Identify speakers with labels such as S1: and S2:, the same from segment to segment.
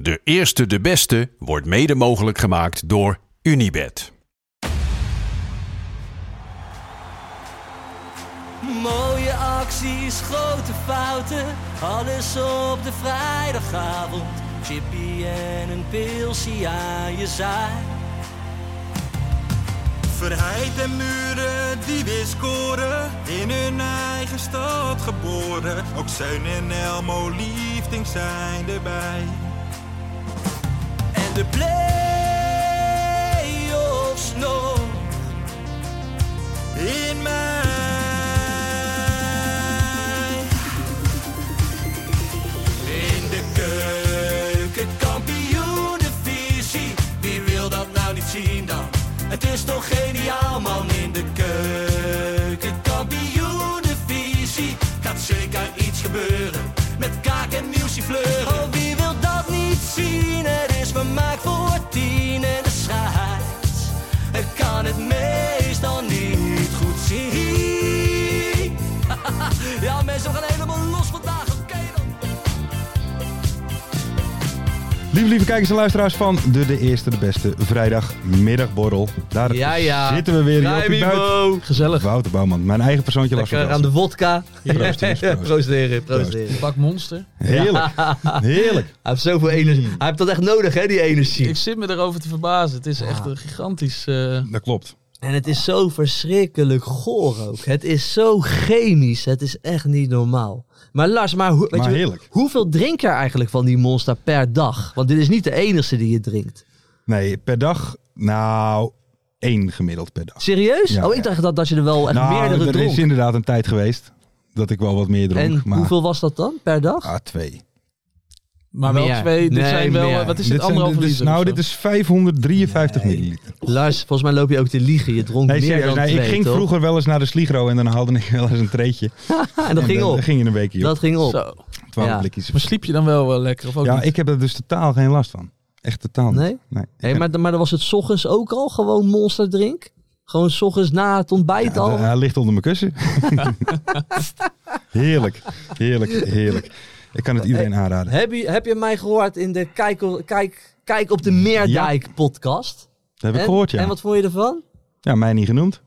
S1: De eerste de beste wordt mede mogelijk gemaakt door Unibed.
S2: Mooie acties, grote fouten, alles op de vrijdagavond. Chippy en een pilsie aan je zaai.
S3: Verheid en muren die weer scoren, in hun eigen stad geboren. Ook Zijn en Elmo liefding zijn erbij.
S2: En de play-offs nog
S3: In mij.
S2: in de keuken, kampioenenvisie. Wie wil dat nou niet zien dan? Het is toch geniaal man in de keuken, kampioenenvisie. Gaat zeker iets gebeuren met kaak en muziek fleuren. Oh, wie wil dat niet zien? Het is vermaakt voor tien en de scheids. Ik kan het meestal niet goed zien. Ja, mensen, we gaan helemaal los vandaag. Oké dan.
S4: Lieve, lieve kijkers en luisteraars van de De Eerste De Beste vrijdagmiddagborrel. Daar
S5: Ja, ja.
S4: zitten we weer hier op die buit.
S5: Gezellig.
S4: Wouter Bouwman, mijn eigen persoontje Lars van
S5: Lekker aan de
S4: Velsen.
S5: wodka.
S4: Proost, jongens, proost.
S5: Proost, heren. Proost,
S4: Proost.
S5: heren.
S6: Pak monster.
S4: Heerlijk, heerlijk.
S5: Hij heeft
S4: Mm.
S5: zoveel energie. Hij heeft dat echt nodig, hè, die energie.
S6: Ik zit me erover te verbazen. Het is echt een gigantisch. eh,
S4: Dat klopt.
S5: En het is zo verschrikkelijk goor ook. Het is zo chemisch. Het is echt niet normaal. Maar Lars, maar, hoe- weet
S4: Maar
S5: je,
S4: heerlijk.
S5: hoeveel drink je eigenlijk van die monster per dag? Want dit is niet de enige die je drinkt.
S4: Nee, per dag, nou, één gemiddeld per dag.
S5: Serieus?
S4: Ja,
S5: oh,
S4: ja.
S5: ik dacht dat, dat je er wel echt
S4: nou,
S5: meerdere
S4: er
S5: dronk.
S4: is inderdaad een tijd geweest dat ik wel wat meer dronk.
S5: en
S4: maar,
S5: hoeveel was dat dan per dag?
S4: Ah, twee.
S6: maar wel
S5: Meer.
S6: twee. Dit
S5: Nee,
S6: zijn wel.
S5: meer.
S6: Wat is dit?
S4: zijn-
S6: Anderhalve
S4: dit is-
S6: liter?
S4: Nou,
S6: of zo?
S4: dit is 553 milliliter.
S5: Lars, volgens mij loop je ook te liegen. Je dronk
S4: Nee,
S5: meer
S4: serieus,
S5: dan
S4: nee,
S5: twee,
S4: ik ging
S5: toch?
S4: vroeger wel eens naar de Sligro en dan haalde ik wel eens een treetje.
S5: Ah, en dat
S4: En
S5: ging
S4: dan-
S5: op.
S4: dan ging je een weekje op,
S5: Dat ging op.
S6: Zo.
S4: 12
S5: ja.
S4: blikjes.
S6: Maar sliep je dan wel eh, lekker? Of ook
S4: Ja,
S6: niet?
S4: ik heb er dus totaal geen last van. Echt totaal niet.
S5: Nee?
S4: Nee.
S5: Hé, maar, maar dan was het 's ochtends ook al gewoon monsterdrink? Gewoon 's ochtends na het ontbijt
S4: Ja,
S5: al?
S4: de- hij ligt onder mijn kussen. heerlijk, heerlijk, heerlijk. Ik kan het iedereen aanraden.
S5: Heb, je, heb je mij gehoord in de Kijk, o- Kijk, Kijk op de Meerdijk podcast?
S4: Dat heb ik
S5: en,
S4: gehoord, ja.
S5: En wat vond je ervan?
S4: Ja, mij niet genoemd.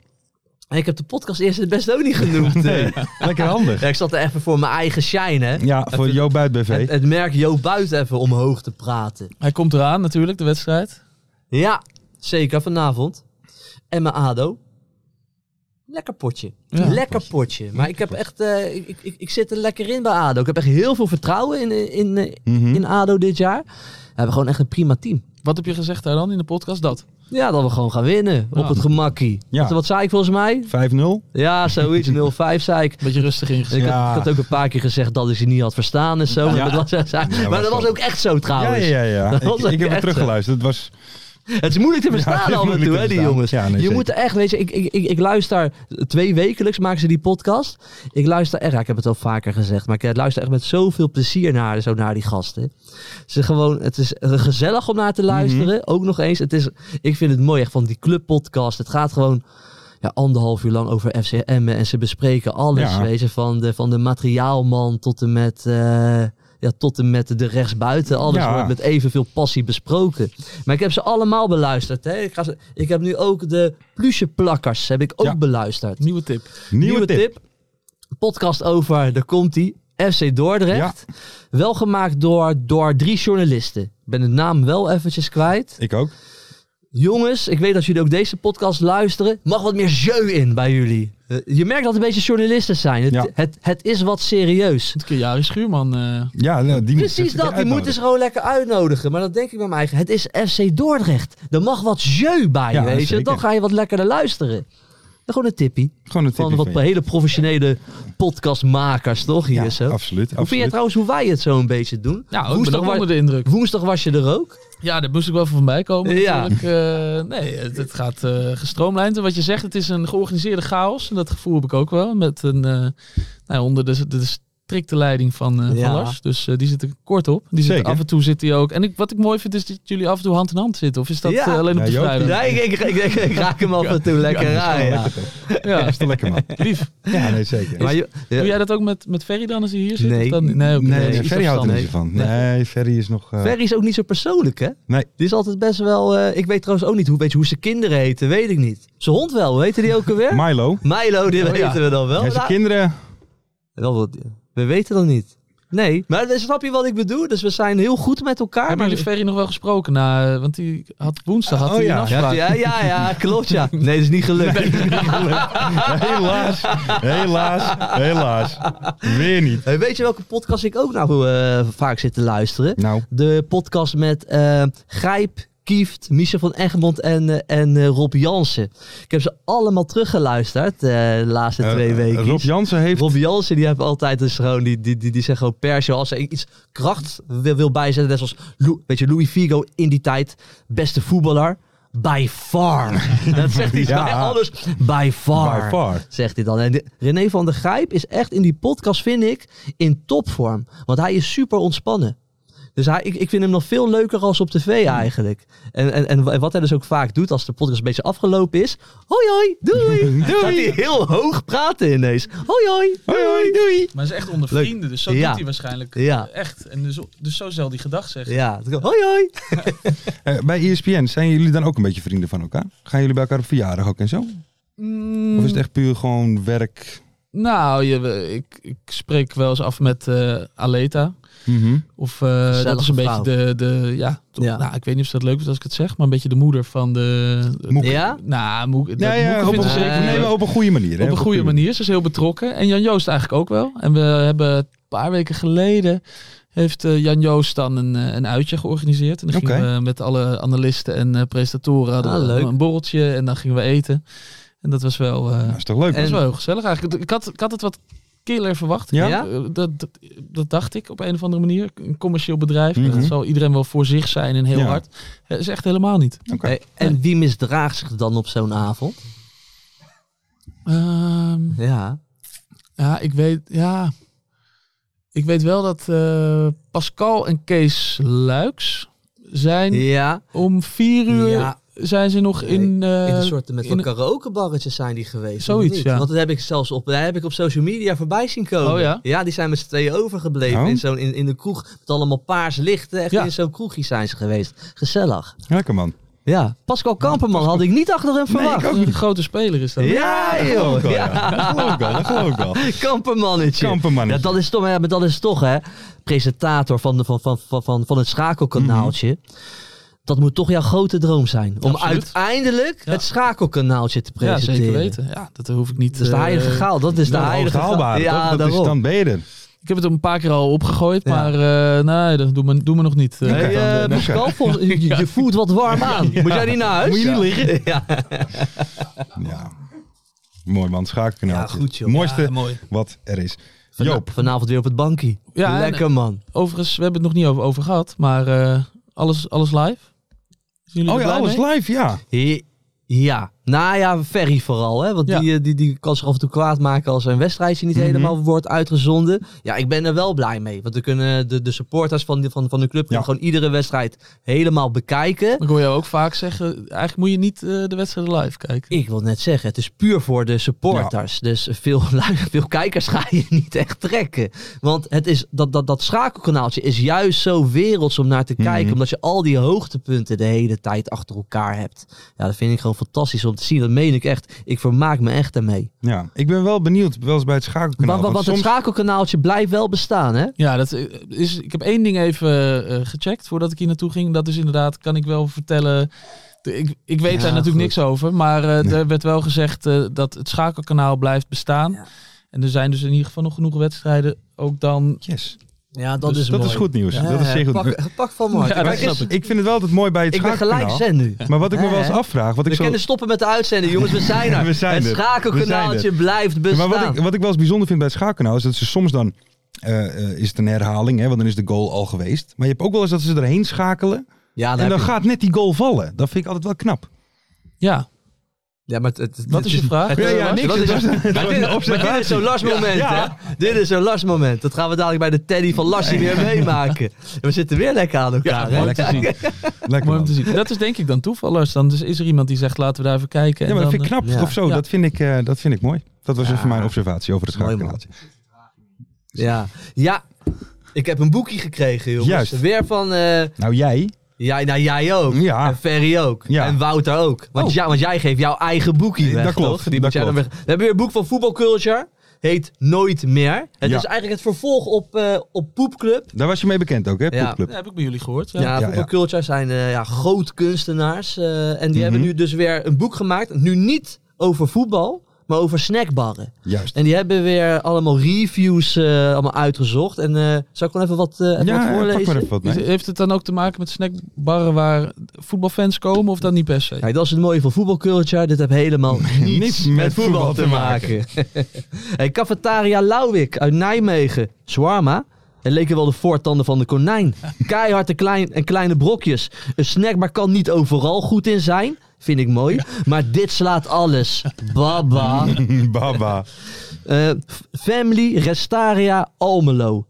S5: Hé, Ik heb de podcast eerst het best ook niet genoemd.
S4: Nee, lekker handig.
S5: Ja, ik zat er even voor mijn eigen shine, hè.
S4: Ja, voor Jo Buit BV.
S5: Het, het merk Jo Buit even omhoog te praten.
S6: Hij komt eraan natuurlijk, de wedstrijd.
S5: Ja, zeker vanavond. En mijn ADO. Lekker potje.
S6: Ja.
S5: lekker potje. Maar ik, heb echt, eh, ik, ik, ik zit er lekker in bij ADO. Ik heb echt heel veel vertrouwen in, eh, in, eh,
S4: Mhm.
S5: in ADO dit jaar. We hebben gewoon echt een prima team.
S6: Wat heb je gezegd daar dan in de podcast? Dat.
S5: Ja, dat we gewoon gaan winnen. Op
S6: Ja.
S5: het gemakkie.
S4: Ja.
S5: Wat, wat zei ik volgens mij?
S4: 5-0.
S5: Ja, zoiets. 0-5 zei ik.
S6: Beetje rustig
S5: En ik,
S6: ingezet.
S4: Ja.
S5: had, ik had ook een paar keer gezegd dat ik ze niet had verstaan en zo.
S4: Ja.
S5: Maar, dat was, maar dat was ook echt zo
S4: Ja,
S5: trouwens.
S4: ja, ja.
S5: Dat was
S4: Ik, ik
S5: ook
S4: heb het
S5: echt zo.
S4: teruggeluisterd. Het was,
S5: Het is moeilijk te
S4: Ja, het
S5: verstaan
S4: is
S5: af en
S4: moeilijk
S5: toe,
S4: te
S5: hè, die
S4: verstaan.
S5: jongens.
S4: Ja, nee,
S5: je
S4: zeker.
S5: moet er echt, weet je, ik, ik, ik, ik luister twee wekelijks maken ze die podcast. Ik luister echt, ja, ik heb het al vaker gezegd, maar ik eh, luister echt met zoveel plezier naar, zo naar die gasten. Ze gewoon, het is eh, gezellig om naar te
S4: Mhm.
S5: luisteren, ook nog eens. Het is, ik vind het mooi echt van die clubpodcast. Het gaat gewoon ja, anderhalf uur lang over FCM en ze bespreken alles.
S4: Ja.
S5: Weet je, van de, van de materiaalman tot en met... eh, ja, tot en met de rechtsbuiten. Alles
S4: Ja.
S5: wordt met evenveel passie besproken. Maar ik heb ze allemaal beluisterd. Hè. Ik, ga ze, ik heb nu ook de plucheplakkers heb ik ook
S4: Ja.
S5: beluisterd.
S6: Nieuwe tip.
S4: nieuwe, tip.
S5: Podcast over, daar komt die. FC Dordrecht. Wel gemaakt door, door drie journalisten. Ik ben de naam wel eventjes kwijt.
S4: Ik ook.
S5: Jongens, ik weet dat jullie ook deze podcast luisteren. Mag wat meer jeu in bij jullie. Eh, Je merkt dat het een beetje journalisten zijn. Het,
S4: Ja.
S5: het, het is wat serieus.
S6: Een keer Jari Schuurman. eh,
S4: Ja, nou, die moet-
S5: Precies dat, die moeten ze gewoon lekker uitnodigen. Maar dan denk ik bij mijn eigen, het is FC Dordrecht. Er mag wat jeu bij,
S4: Ja,
S5: weet je.
S4: zeker.
S5: Dan ga je wat lekkerder luisteren. Gewoon een tippie.
S4: Gewoon een
S5: Van
S4: tipje
S5: wat
S4: je.
S5: hele professionele podcastmakers, toch? Hier
S4: Ja,
S5: zo.
S4: absoluut.
S5: Hoe vind jij
S4: absoluut.
S5: trouwens hoe wij het zo een beetje doen?
S6: ja, ook ik ben
S5: woensdag,
S6: ook
S5: wa-
S6: onder de indruk.
S5: woensdag was je er ook.
S6: Ja, daar moest ik wel even van bij komen
S5: Ja.
S6: natuurlijk. Eh, nee, het, het gaat eh gestroomlijnd. En wat je zegt, het is een georganiseerde chaos. En dat gevoel heb ik ook wel. Met een, eh, nou, ja, onder de, de strikte leiding van, eh van
S5: Ja.
S6: Lars. Dus eh, die zit er kort op. Die zit,
S4: Zeker.
S6: af en toe zit hij ook. En ik, wat ik mooi vind, is dat jullie af en toe hand in hand zitten. Of is dat
S5: Ja.
S6: eh, alleen op
S4: Ja,
S6: de
S4: Joop,
S6: vrijdag?
S5: Ja, ik, ik, ik, ik- ik raak hem af en toe lekker aan. Ja.
S6: Ja,
S4: Dat is toch lekker, man.
S6: lief.
S4: Ja, nee, zeker.
S5: Maar je-
S6: Doe
S5: ja.
S6: jij dat ook met, met Ferry dan als hij hier zit?
S5: Nee.
S6: Of dan niet? nee, oké.
S4: Nee,
S6: Dat is
S4: nee,
S6: iets
S4: Ferry houdt er
S6: afstands.
S4: niet zo van. Nee, Ferry is nog... eh,
S5: Ferry is ook niet zo persoonlijk, hè?
S4: Nee.
S5: Die is altijd best wel... eh, ik weet trouwens ook niet hoe, weet je, hoe ze kinderen heten, weet ik niet. Zijn hond wel, hoe heette die ook alweer?
S4: Milo.
S5: Milo, die
S6: Oh, ja.
S5: weten we dan wel.
S4: Hij zijn
S5: Nou,
S4: kinderen...
S5: wel wat- we weten dat niet. Nee, maar dan snap je wat ik bedoel? Dus we zijn heel goed met elkaar.
S6: Hebben
S5: Maar
S6: jullie Ferry nog wel gesproken? Na, eh, want die had woensdag had
S4: Oh,
S6: hij
S4: ja.
S6: een
S5: ja,
S6: afspraak.
S5: ja, ja, ja, klopt ja. Nee, dat is niet gelukt.
S4: Helaas, helaas, helaas. Weer niet.
S5: Hey, weet je welke podcast ik ook nou eh, vaak zit te luisteren?
S4: Nou,
S5: De podcast met eh Grijp, Kieft, Michel van Egmond en, eh, en eh, Rob Jansen. Ik heb ze allemaal teruggeluisterd eh, de laatste twee
S4: eh,
S5: weken.
S4: Rob Jansen heeft...
S5: Rob Jansen, die heeft altijd dus gewoon, die, die, die, die zegt gewoon per show, als hij iets kracht wil, wil bijzetten, net zoals Lou- weet je, Louis Figo in die tijd, beste voetballer, by far. Dat zegt hij
S4: Ja.
S5: ja. alles, by far.
S4: By far.
S5: Zegt hij dan. En de- René van der Grijp is echt in die podcast, vind ik, in topvorm. Want hij is super ontspannen. Dus hij, ik, ik vind hem nog veel leuker als op tv eigenlijk. En, en, en wat hij dus ook vaak doet als de podcast een beetje afgelopen is. Hoi hoi, doei. doei. Gaat hij heel hoog praten ineens. Hoi hoi, hoi hoi, doei.
S6: Maar ze is echt onder
S5: Leuk.
S6: vrienden, dus zo
S5: Ja.
S6: doet hij waarschijnlijk
S5: Ja.
S6: eh, echt. En dus, dus zo zal hij gedag zeggen.
S5: Ja, het- hoi hoi.
S4: Eh, bij ESPN, zijn jullie dan ook een beetje vrienden van elkaar? Gaan jullie bij elkaar op verjaardag ook en zo?
S6: Mm,
S4: Of is het echt puur gewoon werk?
S6: Nou, je, ik, ik spreek wel eens af met eh, Aleta.
S4: Mhm.
S6: Of eh, dat is een
S5: vrouw.
S6: beetje de, de ja, toch,
S5: Ja.
S6: Nou, ik weet niet of dat leuk is als ik het zeg, maar een beetje de moeder van de...
S4: Moek.
S5: Ja?
S6: Nou, Moek, dat
S4: Nee, ja,
S6: Moeke
S4: op,
S6: vindt
S4: een,
S6: ze zeker
S5: eh,
S4: nee, maar op een goede manier. hè?
S6: Op een goede manier. Ze is heel betrokken. En Jan Joost eigenlijk ook wel. En we hebben een paar weken geleden heeft eh, Jan Joost dan een, eh, een uitje georganiseerd. En dan gingen
S4: Oké.
S6: we met alle analisten en eh, presentatoren hadden
S5: Ah,
S6: we
S5: leuk.
S6: een borreltje en dan gingen we eten. En dat was wel, eh,
S5: Nou,
S4: Dat is toch leuk?
S6: dat was
S5: en-
S6: wel heel gezellig eigenlijk. Ik had, ik had het wat killer verwacht.
S4: Ja?
S5: Ja?
S6: Eh, Dat, dat, dat dacht ik op een of andere manier. Een commercieel bedrijf.
S4: Mhm.
S6: Dat zal iedereen wel voor zich zijn en heel
S4: Ja.
S6: hard. Het is echt helemaal niet.
S4: Oké.
S5: Hey, en wie misdraagt zich dan op zo'n avond?
S6: Ehm,
S5: Ja.
S6: Ja, ik weet, ja. Ik weet wel dat eh, Pascal en Kees Luiks zijn
S5: Ja.
S6: om vier uur
S5: Ja.
S6: zijn ze nog
S5: Nee,
S6: in, eh,
S5: In een soort met
S6: in
S5: van
S6: een-
S5: karaokebarretjes zijn die geweest. of
S6: Zoiets,
S5: niet?
S6: ja.
S5: Want dat heb ik zelfs op, daar heb ik op social media voorbij zien komen.
S6: Oh, ja?
S5: die zijn met z'n tweeën overgebleven
S4: Oh.
S5: in, zo'n, in, in de kroeg. Met allemaal paars licht. Echt
S6: Ja.
S5: in zo'n kroegje zijn ze geweest. Gezellig.
S4: Lekker man.
S5: Ja. Pascal Kamperman had ik niet achter hem verwacht.
S6: een grote speler is dat.
S5: ja,
S4: Dat
S5: joh.
S4: geloof ik wel,
S5: Ja.
S4: ja. Dat geloof ik wel, dat geloof ik wel.
S5: Kampermannetje.
S4: Kampermannetje.
S5: Ja, dat is toch, hè, maar dat is toch hè, presentator van, de, van, van, van, van, van het schakelkanaaltje. Dat moet toch jouw grote droom zijn. Om
S6: Mhm. Absoluut.
S5: uiteindelijk
S6: Ja.
S5: het schakelkanaaltje te
S6: Ja,
S5: presenteren.
S6: zeker weten. Ja, dat hoef ik niet.
S5: Dat is de
S6: eh,
S5: heilige gaal. Dat is de
S4: Dat
S5: heilige gaal.
S4: haalbaar.
S5: Ja,
S4: dat is
S5: daarom.
S4: dan beter.
S6: ik heb het een paar keer al opgegooid,
S5: Ja.
S6: maar eh, nee, dat doen we, doen we nog niet. Eh,
S5: Hey,
S6: dan,
S5: eh,
S6: eh,
S5: Pascal, volgens- je, je voelt wat warm aan. Moet jij niet naar huis?
S4: Moet je niet
S5: liggen? Ja,
S4: Ja. Mooi man, schakelkanaal.
S5: Ja, goed, joh.
S4: Mooiste
S6: ja, mooi.
S4: wat er is.
S5: Vana-
S4: Joop,
S5: Vanavond weer op het bankje.
S6: Ja, en-
S5: Lekker man.
S6: Overigens, we hebben het nog niet over, over gehad, maar eh, alles, alles live. Zijn jullie
S4: Oh
S6: er
S4: ja,
S6: blij
S4: alles
S6: mee?
S4: live, ja.
S5: He- Ja, nou ja, Ferry vooral. Hè? Want
S6: Ja.
S5: die, eh, die, die kan zich af en toe kwaad maken als een wedstrijdje niet
S4: Mhm.
S5: helemaal wordt uitgezonden. Ja, ik ben er wel blij mee. Want we kunnen de, de supporters van, die, van, van de club kunnen
S4: Ja.
S5: gewoon iedere wedstrijd helemaal bekijken.
S6: Ik hoor jou ook vaak zeggen, eigenlijk moet je niet eh, de wedstrijden live kijken.
S5: Ik wil net zeggen, het is puur voor de supporters. Dus veel, lu- veel kijkers ga je niet echt trekken. Want het is, dat, dat, dat schakelkanaaltje is juist zo werelds om naar te kijken.
S4: Mhm.
S5: Omdat je al die hoogtepunten de hele tijd achter elkaar hebt. Ja, dat vind ik gewoon fantastisch om te zien. Dat meen ik echt. Ik vermaak me echt daarmee.
S4: Ja, ik ben wel benieuwd, wel eens bij het schakelkanaal.
S5: Want, want
S4: want
S5: het
S4: soms-
S5: schakelkanaaltje blijft wel bestaan, hè?
S6: Ja, dat eh, is, ik heb één ding even eh, gecheckt voordat ik hier naartoe ging. Dat is inderdaad, kan ik wel vertellen Ik, ik weet
S5: Ja,
S6: daar natuurlijk
S5: goed.
S6: niks over, maar eh, er werd wel gezegd eh, dat het schakelkanaal blijft bestaan.
S5: Ja.
S6: En er zijn dus in ieder geval nog genoeg wedstrijden ook dan.
S4: Yes.
S5: Ja, dat
S6: Dus
S5: is
S4: Dat
S5: mooi.
S4: is goed nieuws.
S5: Ja,
S4: dat is zeer goed.
S5: Pak, pak van Mark.
S6: Ja, dat
S5: Kijk
S6: snap
S5: eens,
S6: ik.
S4: Ik vind het wel altijd mooi bij het
S5: ik ben gelijk
S4: schakelkanaal.
S5: zen nu.
S4: Maar wat ik me wel eens
S5: Hè?
S4: afvraag, wat ik
S5: We
S4: zo...
S5: kunnen stoppen met de uitzending, jongens. We zijn er.
S4: We zijn
S5: het
S4: er. We
S5: schakelkanaaltje
S4: zijn
S5: blijft
S4: Ja,
S5: bestaan.
S4: maar wat ik, wat ik wel eens bijzonder vind bij het schakelkanaal is dat ze soms dan... eh, eh, is het een herhaling, hè, want dan is de goal al geweest. Maar je hebt ook wel eens dat ze erheen schakelen.
S5: ja,
S4: en
S5: Ah, heb
S4: dan
S5: je-
S4: gaat net die goal vallen. Dat vind ik altijd wel knap.
S6: Ja,
S5: ja, maar het, het-
S6: wat is je vraag?
S4: Ja, ja,
S6: Eh,
S4: niks.
S5: Dat
S4: Het
S5: is,
S4: was- het
S5: maar
S4: was
S5: dit,
S4: een
S5: maar dit is zo'n Lars moment,
S4: Ja.
S5: hè? Dit is zo'n Lars moment. Dat gaan we dadelijk bij de Teddy van Larsie weer meemaken. En we zitten weer lekker aan elkaar. hè?
S6: Mooi te zien.
S4: Lekker
S6: Mooi om
S4: man.
S6: te zien. Dat is denk ik dan toeval, Lars. Dan dus is er iemand die zegt laten we daar even kijken.
S4: Ja,
S6: en
S4: maar dat
S6: dan, eh,
S4: vind ik knap.
S5: Ja.
S4: Of zo,
S6: Ja.
S4: dat, vind ik, eh, dat vind ik mooi. Dat was
S5: Ja.
S4: even mijn observatie over het
S5: Mooi, man.
S4: schakelkanaaltje.
S5: Ja. ja, ik heb een boekje gekregen, jongens.
S4: Juist.
S5: Weer van... eh,
S4: Nou, jij...
S5: ja, nou, jij ook.
S4: Ja.
S5: En Ferry ook.
S4: Ja.
S5: En Wouter ook. Want,
S4: Oh.
S5: ja, want jij geeft jouw eigen boekje
S4: Nee,
S5: weg,
S4: dat klopt,
S5: toch? Die
S4: dat
S5: moet jij dan
S4: klopt.
S5: weg- We hebben weer een boek van Voetbal Culture. Heet Nooit Meer. Het
S4: Ja.
S5: is eigenlijk het vervolg op, eh, op Poepclub.
S4: Daar was je mee bekend ook, hè?
S5: Ja.
S4: Poepclub.
S6: Dat heb ik bij jullie gehoord. Ja.
S5: Ja,
S4: ja,
S5: Voetbal
S4: ja.
S5: Culture zijn eh, ja, groot kunstenaars. eh, en die hebben
S4: Mhm.
S5: nu dus weer een boek gemaakt. Nu niet over voetbal, maar over snackbarren.
S4: Juist.
S5: En die hebben weer allemaal reviews eh, allemaal uitgezocht. En eh zal ik gewoon even wat, eh even
S4: ja,
S5: wat
S4: pak
S5: voorlezen?
S4: maar even wat mee.
S6: Heeft het dan ook te maken met snackbarren waar voetbalfans komen of dan niet per se?
S5: Kijk, dat is het mooie van voetbalculture. Dit heeft helemaal niets, met, voetbal, te maken. hey, cafetaria Lauwik uit Nijmegen. Swarma. Het leken wel de voortanden van de konijn. Keihard en, klein, en kleine brokjes. Een snackbar kan niet overal goed in zijn. Vind ik mooi. Maar dit slaat alles. Baba.
S4: Baba.
S5: Eh, F- family Restaria Almelo.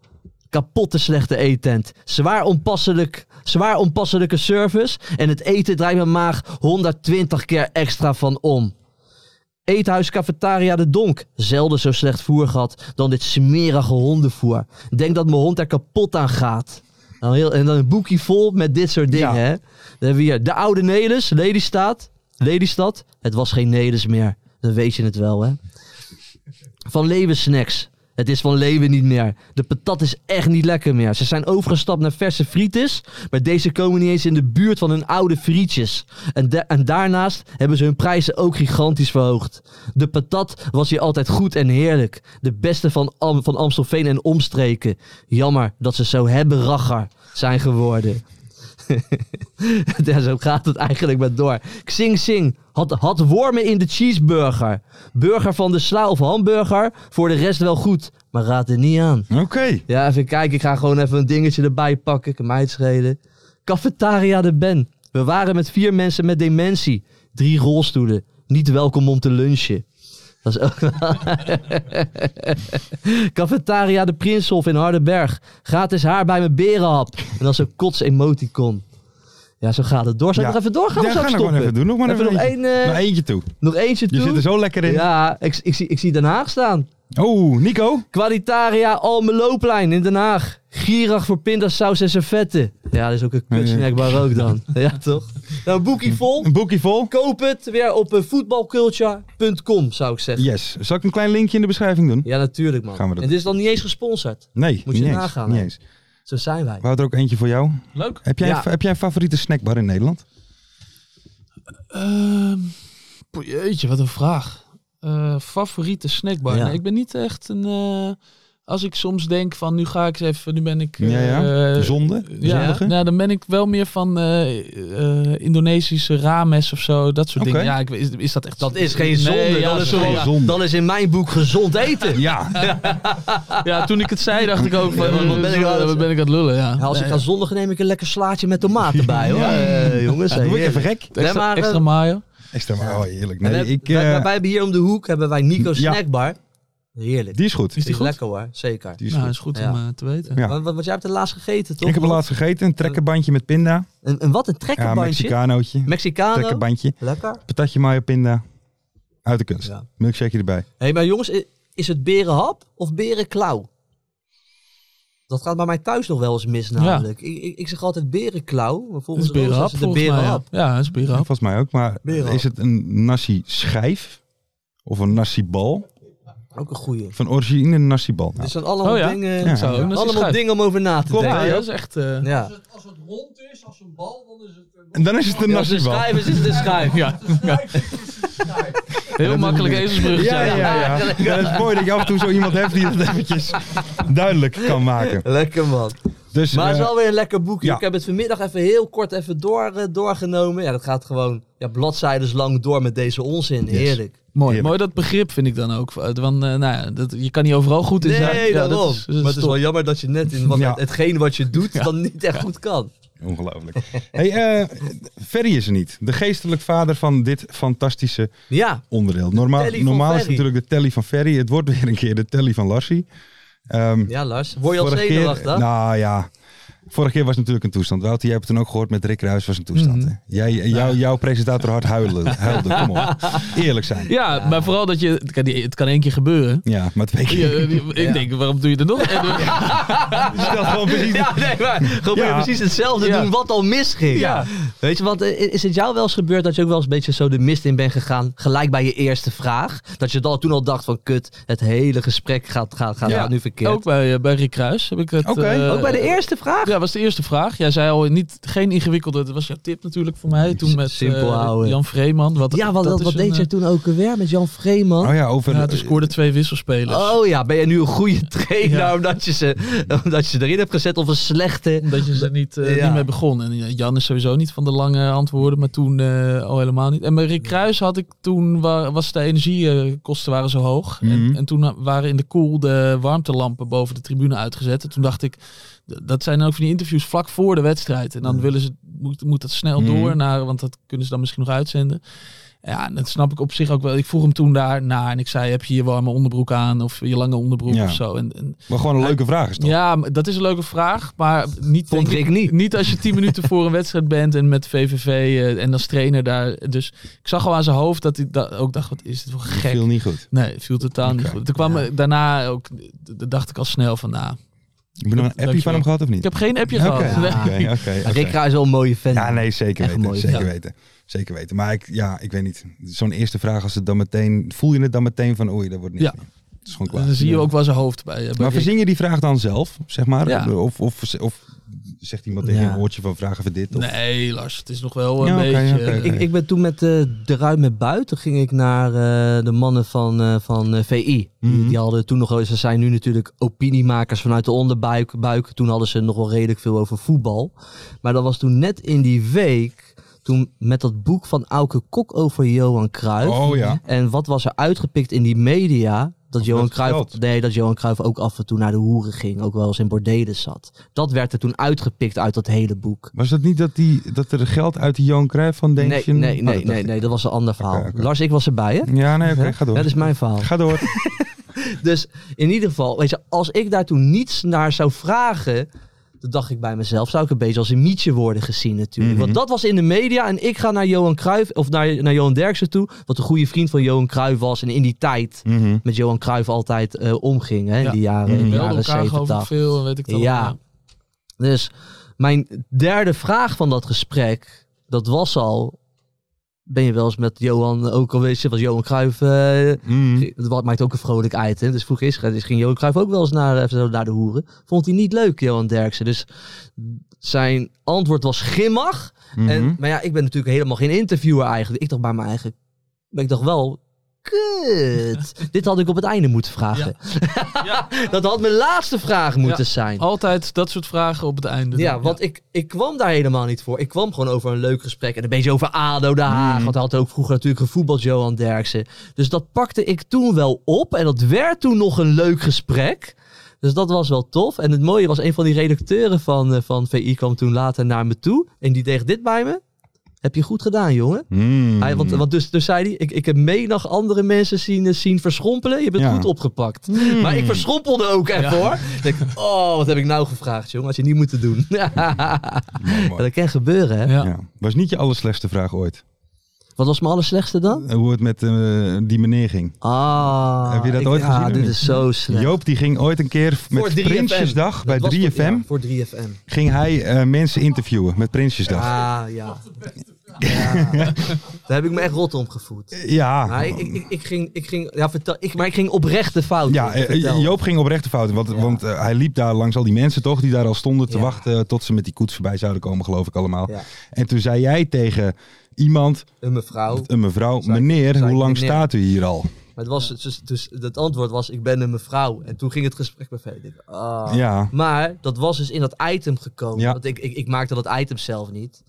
S5: Kapotte slechte eettent. Zwaar, onpasselijk, zwaar onpasselijke service. En het eten draait mijn maag 120 keer extra van om. Eethuis Cafetaria de Donk. Zelden zo slecht voer gehad dan dit smerige hondenvoer. Denk dat mijn hond er kapot aan gaat. Nou, heel, en dan een boekje vol met dit soort dingen.
S4: Ja.
S5: Hè? Dan hebben we hier De Oude Nelis, Lelystad. Lelystad. Het was geen Nelis meer. Dan weet je het wel, hè? Van Leeuwen snacks. Het is van Leeuwen niet meer. De patat is echt niet lekker meer. Ze zijn overgestapt naar verse frietjes. Maar deze komen niet eens in de buurt van hun oude frietjes. En, da- en daarnaast hebben ze hun prijzen ook gigantisch verhoogd. De patat was hier altijd goed en heerlijk. De beste van, Am- van Amstelveen en omstreken. Jammer dat ze zo hebberagger zijn geworden. ja, zo gaat het eigenlijk maar door. Xing Xing had, had wormen in de cheeseburger. Burger van de sla of hamburger, voor de rest wel goed. Maar raad er niet aan.
S4: Oké.
S5: Ja, even kijken. Ik ga gewoon even een dingetje erbij pakken. Kan mij het schelen. Cafetaria de Ben. We waren met vier mensen met dementie. Drie rolstoelen. Niet welkom om te lunchen. Dat is ook wel- Cafetaria de Prinshof in Hardenberg. Gratis haar bij mijn berenhap. En dan zo'n kots emoticon. Ja, zo gaat het door. Zal ik
S4: Ja.
S5: nog even doorgaan?
S4: Ja,
S5: of zal ik
S4: ga nog maar
S5: stoppen?
S4: even doen. Nog maar
S5: Even
S4: even
S5: nog
S4: eentje.
S5: één, eh,
S4: Nog eentje toe.
S5: Nog eentje
S4: Je
S5: toe.
S4: zit er zo lekker in.
S5: Ja, ik, ik, zie, ik zie Den Haag staan.
S4: Oh, Nico.
S5: Qualitaria Almeloplein in Den Haag. Gierig voor pindasaus en servetten. Ja, dat is ook een kutsnackbar ook dan. Ja, toch? Nou, een boekie vol.
S4: Een boekje vol.
S5: Koop het weer op eh, voetbalculture.com, zou ik zeggen.
S4: Yes. Zal ik een klein linkje in de beschrijving doen?
S5: Ja, natuurlijk, man.
S4: Gaan we dat
S5: En dit is dan niet eens gesponsord.
S4: Nee,
S5: Moet je
S4: niet eens.
S5: nagaan,
S4: Niet
S5: hè?
S4: eens.
S5: Zo zijn wij.
S4: Wouter, ook eentje voor jou.
S6: Leuk.
S4: Heb jij,
S5: Ja.
S4: een, heb jij een favoriete snackbar in Nederland?
S6: Ehm, poe- jeetje, wat een vraag. Eh, favoriete snackbar?
S5: Ja.
S6: Nee, ik ben niet echt een... eh, als ik soms denk van nu ga ik eens even... Nu ben ik...
S4: Ja, ja.
S6: eh,
S4: Zonde?
S6: ja,
S4: Zondige?
S6: nou, dan ben ik wel meer van eh, eh, Indonesische rames of zo, dat soort
S4: Oké.
S6: dingen. Ja, ik, is, is dat echt...
S5: Dat is geen zonde.
S6: Nee, ja,
S5: dat, is
S6: dat is
S5: gewoon-
S4: geen zonde.
S5: dat is in mijn boek gezond eten.
S4: Ja.
S6: Ja, toen ik het zei dacht ik ook van...
S5: Ja, maar wat
S6: eh,
S5: ben ik aan het-
S6: wat ben ik aan het lullen, ja.
S5: Ja, als ik
S6: Nee,
S5: ga zondigen neem ik een lekker slaatje met tomaat erbij, hoor. Eh, jongens,
S4: Doe ik
S5: hey.
S4: even gek?
S5: Nee,
S6: Extra,
S5: maar, eh,
S6: extra mayo.
S4: Extra maar. Oh, heerlijk.
S5: En
S4: Nee,
S5: we-
S4: ik,
S5: wij,
S4: eh,
S5: wij- wij hebben hier om de hoek hebben wij Nico's
S4: Ja.
S5: Snackbar. Heerlijk.
S4: die is goed.
S6: Is die goed?
S5: lekker hoor, zeker.
S4: Die is
S6: nou,
S4: goed.
S6: is goed
S5: Ja.
S6: om eh, te weten.
S4: Ja.
S5: Want, want, want jij hebt het laatst gegeten, toch?
S4: Ik heb laatst gegeten. Een trekkerbandje met pinda.
S5: Een, een wat? Een
S4: Ja,
S5: trekkerbandje?
S4: Mexicanootje.
S5: Mexicano.
S4: Trekkerbandje.
S5: Lekker.
S4: Patatje mayo pinda. Uit de kunst.
S5: Ja.
S4: Milkshake erbij.
S5: Hé, hey, maar jongens, i- is het berenhap of berenklauw? Dat gaat bij mij thuis nog wel eens mis namelijk. Ik, ik, ik zeg altijd berenklauw, maar
S6: Dat is
S5: volgens mij
S6: berenhap
S5: is het de
S6: volgens mij. Ja,
S5: berenhap.
S6: ja dat is
S4: Ja,
S6: berenhap.
S4: volgens mij ook. Maar
S5: Beren.
S4: is het een nasi schijf? Of een nasi bal?
S5: Ook een goeie.
S4: Van origine Nassibal. Nou,
S5: Dit zijn allemaal
S6: Oh ja?
S5: dingen,
S4: Ja.
S6: Zo, dat is
S5: allemaal
S6: schuif.
S5: dingen om over na te
S4: Klopt,
S6: Ja,
S5: denken.
S6: dat is echt... eh,
S5: Ja.
S4: en dan is het een
S5: Als de
S4: Nassibal.
S5: schuif is, is de schuif.
S6: Ja. ja. Heel makkelijk ezelsbrug
S4: Ja, ja, ja. Ja, dat is mooi dat je af en toe zo iemand hebt die dat eventjes duidelijk kan maken.
S5: Lekker man.
S4: Dus,
S5: Maar het is
S4: eh,
S5: wel weer een lekker boekje.
S4: ja.
S5: Ik heb het vanmiddag even heel kort even door, eh, doorgenomen. Ja, dat gaat gewoon ja, bladzijdes lang door met deze onzin. Heerlijk.
S6: Mooi,
S4: Heerlijk.
S6: mooi dat begrip vind ik dan ook. Want eh, nou ja, dat, je kan niet overal goed in
S5: Nee,
S6: zijn. Ja,
S5: daarom.
S6: dat is- dat
S5: maar
S6: is
S5: het is
S6: top.
S5: wel jammer dat je net in wat,
S4: Ja.
S5: hetgeen wat je doet dan niet echt goed kan.
S4: Ongelooflijk. Hey, eh, Ferry is er niet. De geestelijk vader van dit fantastische
S5: Ja,
S4: onderdeel. Normaal,
S5: telly van
S4: normaal is het
S5: Ferry.
S4: natuurlijk de telly van Ferry. Het wordt weer een keer de telly van Larsie. Ehm,
S5: ja Lars. Word je al
S4: vorige keer,
S5: zenuwachtig?
S4: nou ja, vorige keer was het natuurlijk een toestand. Wouter, jij hebt het dan ook gehoord met Rick Ruijs was een toestand.
S6: Mhm.
S4: hè? Jij, jou, jouw presentator hard huilen, huilde. Kom op. Eerlijk zijn.
S6: Ja, maar vooral dat je... Het kan, het kan één keer gebeuren.
S4: Ja, maar twee
S6: Je-
S4: keer.
S6: je- ik denk, waarom doe je er nog? En, eh,
S4: Je stelt gewoon precies.
S5: Ja, nee, maar gewoon
S4: Ja.
S5: precies hetzelfde
S6: Ja.
S5: doen wat al misging.
S6: Ja.
S5: Weet je, want eh, is het jou wel eens gebeurd dat je ook wel eens een beetje zo de mist in bent gegaan, gelijk bij je eerste vraag? Dat je dan toen al dacht van, kut, het hele gesprek gaat, gaat, gaat,
S6: Ja.
S5: gaat nu verkeerd.
S6: Ook bij, eh, bij Rick Kruis heb ik het...
S4: Oké,
S6: eh,
S5: Ook bij de eerste vraag?
S6: Ja, was de eerste vraag. Jij zei al niet, geen ingewikkelde, dat was jouw tip natuurlijk voor mij. Toen met
S5: Simpel
S6: eh,
S5: houden.
S6: Jan Vreeman. Wat,
S5: Ja, want
S6: dat
S5: dat,
S6: is
S5: wat
S6: een,
S5: deed jij
S6: eh,
S5: toen ook weer met Jan Vreeman?
S4: Oh ja, over...
S6: Ja, toen scoorde twee wisselspelers.
S5: Oh ja, ben je nu een goede trainer
S6: Ja.
S5: omdat, je ze, omdat je ze erin hebt gezet of een slechte?
S6: Omdat je ze niet, eh,
S5: Ja.
S6: niet mee begon. En eh, Jan is sowieso niet van de lange antwoorden, maar toen eh, al helemaal niet. En bij Rick Kruis had ik toen, wa- was de energiekosten waren zo hoog.
S4: Mhm.
S6: En, en toen eh, waren in de koel de warmtelampen boven de tribune uitgezet. En toen dacht ik, d- dat zijn ook van die interviews vlak voor de wedstrijd. En dan willen ze, moet, moet dat snel
S4: Mhm.
S6: door, naar, want dat kunnen ze dan misschien nog uitzenden. Ja, en dat snap ik op zich ook wel. Ik vroeg hem toen daar naar en ik zei, heb je je warme onderbroek aan of je lange onderbroek
S4: Ja.
S6: of zo. En, en
S4: Maar gewoon een leuke vraag is toch?
S6: ja, maar dat is een leuke vraag, maar niet,
S5: Vond
S6: denk
S5: ik niet.
S6: niet als je tien minuten voor een wedstrijd bent en met VVV eh, en als trainer daar. Dus ik zag al aan zijn hoofd dat hij da- ook dacht, wat is dit voor gek.
S4: Viel niet goed.
S6: Nee, viel totaal niet
S4: Oké.
S6: goed. Toen kwam eh, daarna ook, d- d- dacht ik al snel van, nou,
S4: Heb je nog een appje van hem gehad of niet?
S6: ik heb geen appje
S4: Oké,
S6: gehad. Nee.
S4: oké, oké, oké.
S5: Rick Kruijs is wel een mooie fan.
S4: Ja, nee, zeker
S5: Echt
S4: weten.
S5: mooi.
S4: zeker
S5: Ja.
S4: weten. Zeker weten. Maar ik, ja, ik weet niet. Zo'n eerste vraag, als het dan meteen, voel je het dan meteen van oei, dat wordt niet.
S6: Ja.
S4: meer. Het is gewoon
S6: En
S4: klaar.
S6: dan zie je ook wel zijn hoofd bij. eh, bij
S4: maar
S6: Rick.
S4: verzin je die vraag dan zelf, zeg maar?
S6: Ja.
S4: Of, of, of zegt iemand tegen
S5: Ja.
S4: een woordje van vragen we dit? Of,
S6: Nee, Lars, het is nog wel een
S4: Ja, oké,
S6: beetje...
S4: oké.
S6: eh,
S5: Ik, ik ben toen met eh, de ruim met buiten ging ik naar eh, de mannen van, eh, van eh, VI. Die-
S4: Mhm.
S5: Die, hadden toen nog wel, ze zijn nu natuurlijk opiniemakers vanuit de onderbuik. Buik. Toen hadden ze nog wel redelijk veel over voetbal. Maar dat was toen net in die week, toen met dat boek van Auke Kok over Johan Cruijff.
S4: Oh ja.
S5: En wat was er uitgepikt in die media? Dat Johan,
S4: werd
S5: Cruijff,
S4: geld.
S5: nee, dat Johan Cruijff ook af en toe naar de hoeren ging. Ook wel eens in bordelen zat. Dat werd er toen uitgepikt uit dat hele boek.
S4: Was dat niet dat, die, dat er geld uit de Johan Cruijff
S5: Nee,
S4: Foundation...
S5: nee,
S4: Oh, dat
S5: nee,
S4: dacht
S5: nee,
S4: ik.
S5: nee, dat was een ander verhaal.
S4: Oké, oké.
S5: Lars, ik was erbij, hè?
S4: Ja, nee, oké, ga
S5: Ja,
S4: door.
S5: dat is mijn verhaal.
S4: Ga door.
S5: Dus in ieder geval, weet je, als ik daar toen niets naar zou vragen, dan dacht ik bij mezelf, zou ik een beetje als een mietje worden gezien natuurlijk.
S4: Mhm.
S5: Want dat was in de media en ik ga naar Johan Cruijff, of naar, naar Johan Derksen toe, wat een goede vriend van Johan Cruijff was en in die tijd
S4: Mhm.
S5: met Johan Cruijff altijd eh, omging, hè, in
S6: Ja.
S5: die jaren, in
S6: we
S5: de
S6: belden
S5: jaren
S6: elkaar over
S5: 70.
S6: veel, en weet ik dat
S5: Ja. Dus mijn derde vraag van dat gesprek, dat was al, ben je wel eens met Johan ook al geweest, was Johan Cruijff... eh,
S4: Mhm.
S5: dat wat maakt ook een vrolijk item. Dus vroeg is, dus ging Johan Cruijff ook wel eens naar, even zo naar de hoeren. Vond hij niet leuk, Johan Derksen. Dus zijn antwoord was grimmig.
S4: Mhm.
S5: En, maar ja, ik ben natuurlijk helemaal geen interviewer eigenlijk. Ik dacht bij mijn eigen... Maar ik dacht wel... Kut. Dit had ik op het einde moeten vragen. dat had mijn laatste vraag moeten
S6: Ja.
S5: zijn.
S6: Altijd dat soort vragen op het einde.
S5: Ja, want Ik, ik kwam daar helemaal niet voor. Ik kwam gewoon over een leuk gesprek. En een beetje over ADO Den Haag. Want hij had ook vroeger natuurlijk gevoetbald, Johan Derksen. Dus dat pakte ik toen wel op. En dat werd toen nog een leuk gesprek. Dus dat was wel tof. En het mooie was, een van die redacteuren van, eh, van VI kwam toen later naar me toe. En die deed dit bij me. Heb je goed gedaan, jongen.
S4: Mhm.
S5: Hij, want, want dus, dus zei hij, ik, ik heb menig andere mensen zien, eh, zien verschrompelen. Je bent
S4: Ja.
S5: goed opgepakt.
S4: Mhm.
S5: Maar
S4: Hmm.
S5: ik verschrompelde ook even hoor. Ik Denk, oh, wat heb ik nou gevraagd, jongen? Had je niet moeten doen.
S4: Mhm. Mooi,
S5: Ja,
S4: mooi.
S5: dat kan gebeuren, hè?
S6: Ja.
S4: Ja. Was niet je allerslechtste vraag ooit?
S5: Wat was mijn allerslechtste dan?
S4: Hoe het met eh, die meneer ging?
S5: Ah,
S4: Heb je dat
S5: ik-
S4: ooit
S5: ah,
S4: gezien of
S5: dit
S4: niet?
S5: is zo slecht.
S4: Joop die ging ooit een keer
S5: Voor
S4: met
S5: 3FM.
S4: Prinsjesdag
S5: Dat
S4: bij
S5: was
S4: 3FM.
S5: voor- ja, voor 3FM.
S4: ging hij eh, mensen interviewen met Prinsjesdag.
S5: Ah, ja. Daar heb ik me echt rot om gevoeld.
S4: Ja,
S5: Maar ik, ik, ik, ik ging, ik ging, ja, vertel, ik, maar ik ging oprecht de fout.
S4: ja
S5: in,
S4: eh,
S5: Oh, vertel.
S4: Joop ging oprecht de fout. in, Want, want eh, hij liep daar langs al die mensen toch, die daar al stonden te
S5: Ja.
S4: wachten tot ze met die koets voorbij zouden komen, geloof ik allemaal.
S5: Ja.
S4: En toen zei jij tegen iemand,
S5: Een mevrouw. Maar
S4: een mevrouw,
S5: Zei-
S4: meneer,
S5: zei
S4: hoe lang
S5: meneer.
S4: staat u hier al?
S5: het, was, dus, dus het antwoord was, ik ben een mevrouw. En toen ging het gesprek met verder. Ik dacht, ah.
S4: Ja.
S5: Maar dat was dus in dat item gekomen.
S4: Ja.
S5: Want ik, ik, ik maakte dat item zelf niet.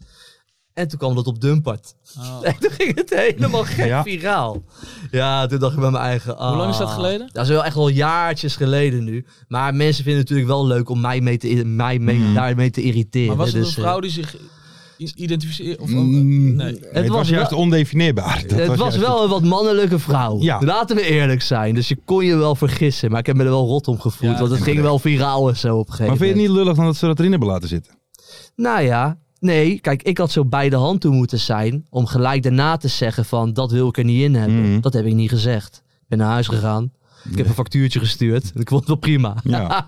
S5: En toen kwam dat op Dumpert.
S6: Oh.
S5: En toen ging het helemaal gek
S4: Ja.
S5: viraal. Ja, toen dacht ik bij mijn eigen... ah.
S6: lang is dat geleden?
S5: Dat is wel echt wel jaartjes geleden nu. Maar mensen vinden het natuurlijk wel leuk om mij, mee te, mij mee,
S4: Mhm.
S5: daarmee te irriteren.
S6: Maar was het
S5: Dus,
S6: een
S5: eh,
S6: vrouw die zich i- identificeert? Of,
S4: Mm,
S6: nee.
S4: nee,
S5: Het
S4: het was,
S5: was
S4: juist
S5: wel-
S4: ondefinieerbaar. Dat
S5: het was
S4: juist-
S5: wel een wat mannelijke vrouw.
S4: Ja.
S5: Laten we eerlijk zijn. Dus je kon je wel vergissen. Maar ik heb me er wel rot om gevoeld.
S6: Ja,
S5: want het ging wel viraal en zo op een gegeven
S4: Maar vind je het niet lullig dan dat ze dat erin hebben laten zitten?
S5: Nou ja, nee. Kijk, ik had zo bij de hand toe moeten zijn. Om gelijk daarna te zeggen van, dat wil ik er niet in hebben.
S4: Mhm.
S5: Dat heb ik niet gezegd. Ik ben naar huis gegaan. Ik heb een factuurtje gestuurd. Ik vond het wel prima.
S4: Ja,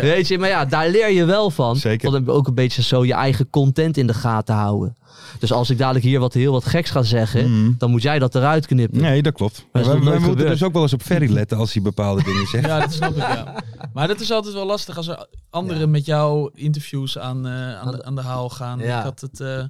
S5: Weet je, maar ja, daar leer je wel van.
S4: Zeker.
S5: Want dan ook een beetje zo je eigen content in de gaten houden. Dus als ik dadelijk hier wat heel wat geks ga zeggen,
S4: Mhm.
S5: dan moet jij dat eruit knippen.
S4: nee, dat klopt.
S5: nog
S4: Maar wij-
S5: nooit
S4: wij moeten
S5: gebeurd.
S4: dus ook wel eens op Ferry letten als hij bepaalde dingen zegt.
S6: Ja, dat snap ik, ja. Maar dat is altijd wel lastig als er anderen met jou interviews aan, eh, aan, de, aan de haal gaan.
S5: Ja.
S6: Ik had het... eh,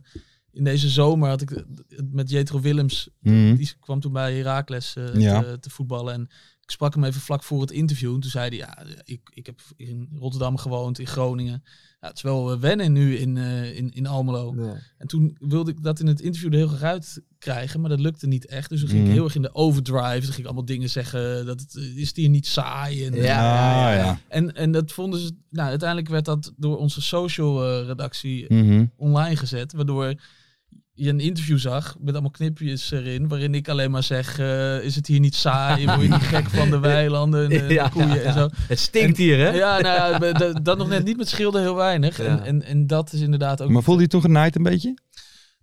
S6: in deze zomer had ik het met Jetro Willems
S4: Mhm.
S6: Die kwam toen bij Herakles eh,
S4: Ja.
S6: te, te voetballen. En ik sprak hem even vlak voor het interview. En toen zei hij, ja, ik, ik heb in Rotterdam gewoond, in Groningen. Ja, het is wel eh, wennen nu in, eh, in, in Almelo.
S5: Nee.
S6: En toen wilde ik dat in het interview er heel graag uit krijgen. Maar dat lukte niet echt. Dus toen ging ik
S4: Mhm.
S6: heel erg in de overdrive. Toen ging ik allemaal dingen zeggen. Dat het, eh, is het hier niet saai? En, eh,
S5: Ja.
S4: Ah, ja.
S6: en, en dat vonden ze... Nou, uiteindelijk werd dat door onze social eh, redactie
S4: Mhm.
S6: online gezet, waardoor je een interview zag met allemaal knipjes erin, waarin ik alleen maar zeg, eh, is het hier niet saai, word je niet gek van de weilanden en de- de
S5: Ja,
S6: koeien
S5: ja, ja.
S6: en zo.
S5: Het stinkt hier, hè?
S6: Ja, nou ja, be- dat- dat nog net niet met schilden heel weinig.
S5: Ja.
S6: En, en, en dat is inderdaad ook...
S4: Maar voelde je toen genaaid een beetje?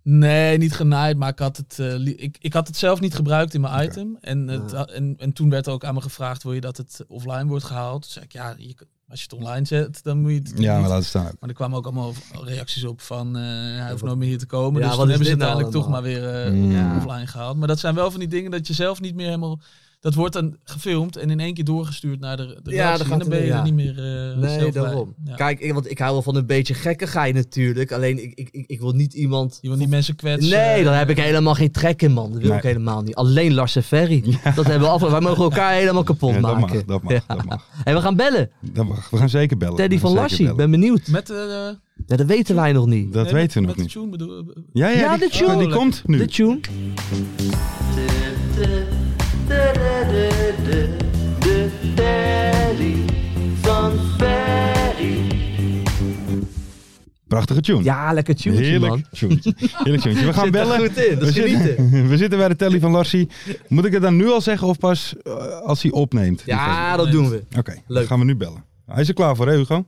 S6: Nee, niet genaaid, maar ik had het, eh, li- ik, ik had het zelf niet gebruikt in mijn item. En, het, en, en toen werd er ook aan me gevraagd, wil je dat het offline wordt gehaald? Toen zei ik, ja, je, als je het online zet, dan moet je het
S4: Ja,
S6: niet
S4: maar laten staan ook.
S6: maar er kwamen ook allemaal reacties op van eh, hij hoeft nooit meer hier te komen.
S5: Ja,
S6: dus
S5: wat
S6: dan
S5: is
S6: hebben ze
S5: dit nou
S6: uiteindelijk toch maar weer eh,
S4: Mm. Ja.
S6: offline gehaald. Maar dat zijn wel van die dingen dat je zelf niet meer helemaal... Dat wordt dan gefilmd en in één keer doorgestuurd naar de, de redactie.
S5: dan
S6: en
S5: gaat
S6: dan
S5: het
S6: ben je
S5: weer,
S6: er
S5: ja.
S6: niet meer eh
S5: Nee,
S6: zelf bij.
S5: daarom.
S6: Ja.
S5: Kijk, ik- want ik hou wel van een beetje gekkigheid natuurlijk. Alleen ik, ik, ik, ik wil niet iemand...
S6: Je wil niet mensen kwetsen.
S5: Nee, daar heb ik helemaal geen trek in, man. Dat wil ik
S4: eh, Nee.
S5: helemaal niet. Alleen Lars en Ferry. Dat hebben we af. Wij mogen elkaar helemaal kapot
S4: Ja, dat
S5: maken.
S4: mag, dat mag,
S5: Ja.
S4: dat mag.
S5: En we gaan bellen.
S4: Dat mag. We gaan zeker bellen.
S5: Teddy
S4: We
S5: van
S4: gaan zeker
S5: Larsie. Ik
S4: bellen.
S5: ben benieuwd.
S6: Met, eh, eh,
S5: Ja, dat weten wij nog niet.
S4: Dat
S6: nee, met-
S4: weten we
S6: met
S4: nog
S6: de
S4: niet.
S6: tune bedoel eh,
S4: Ja, ja,
S5: Ja,
S4: die,
S5: de tune.
S4: oh, die komt nu.
S5: De tune.
S4: Prachtige tune.
S5: Ja, lekker tune, man.
S4: Heerlijk tunetje. Heerlijk tunetje. We gaan
S5: Zit er
S4: bellen.
S5: goed in, dat
S4: we,
S5: is
S4: zitten, we zitten bij de telly van Larsie. Moet ik het dan nu al zeggen of pas eh, als hij opneemt? die
S5: Ja, dat doen we.
S4: Oké, dan
S5: Leuk.
S4: gaan we nu bellen. Hij is er klaar voor, hè Hugo?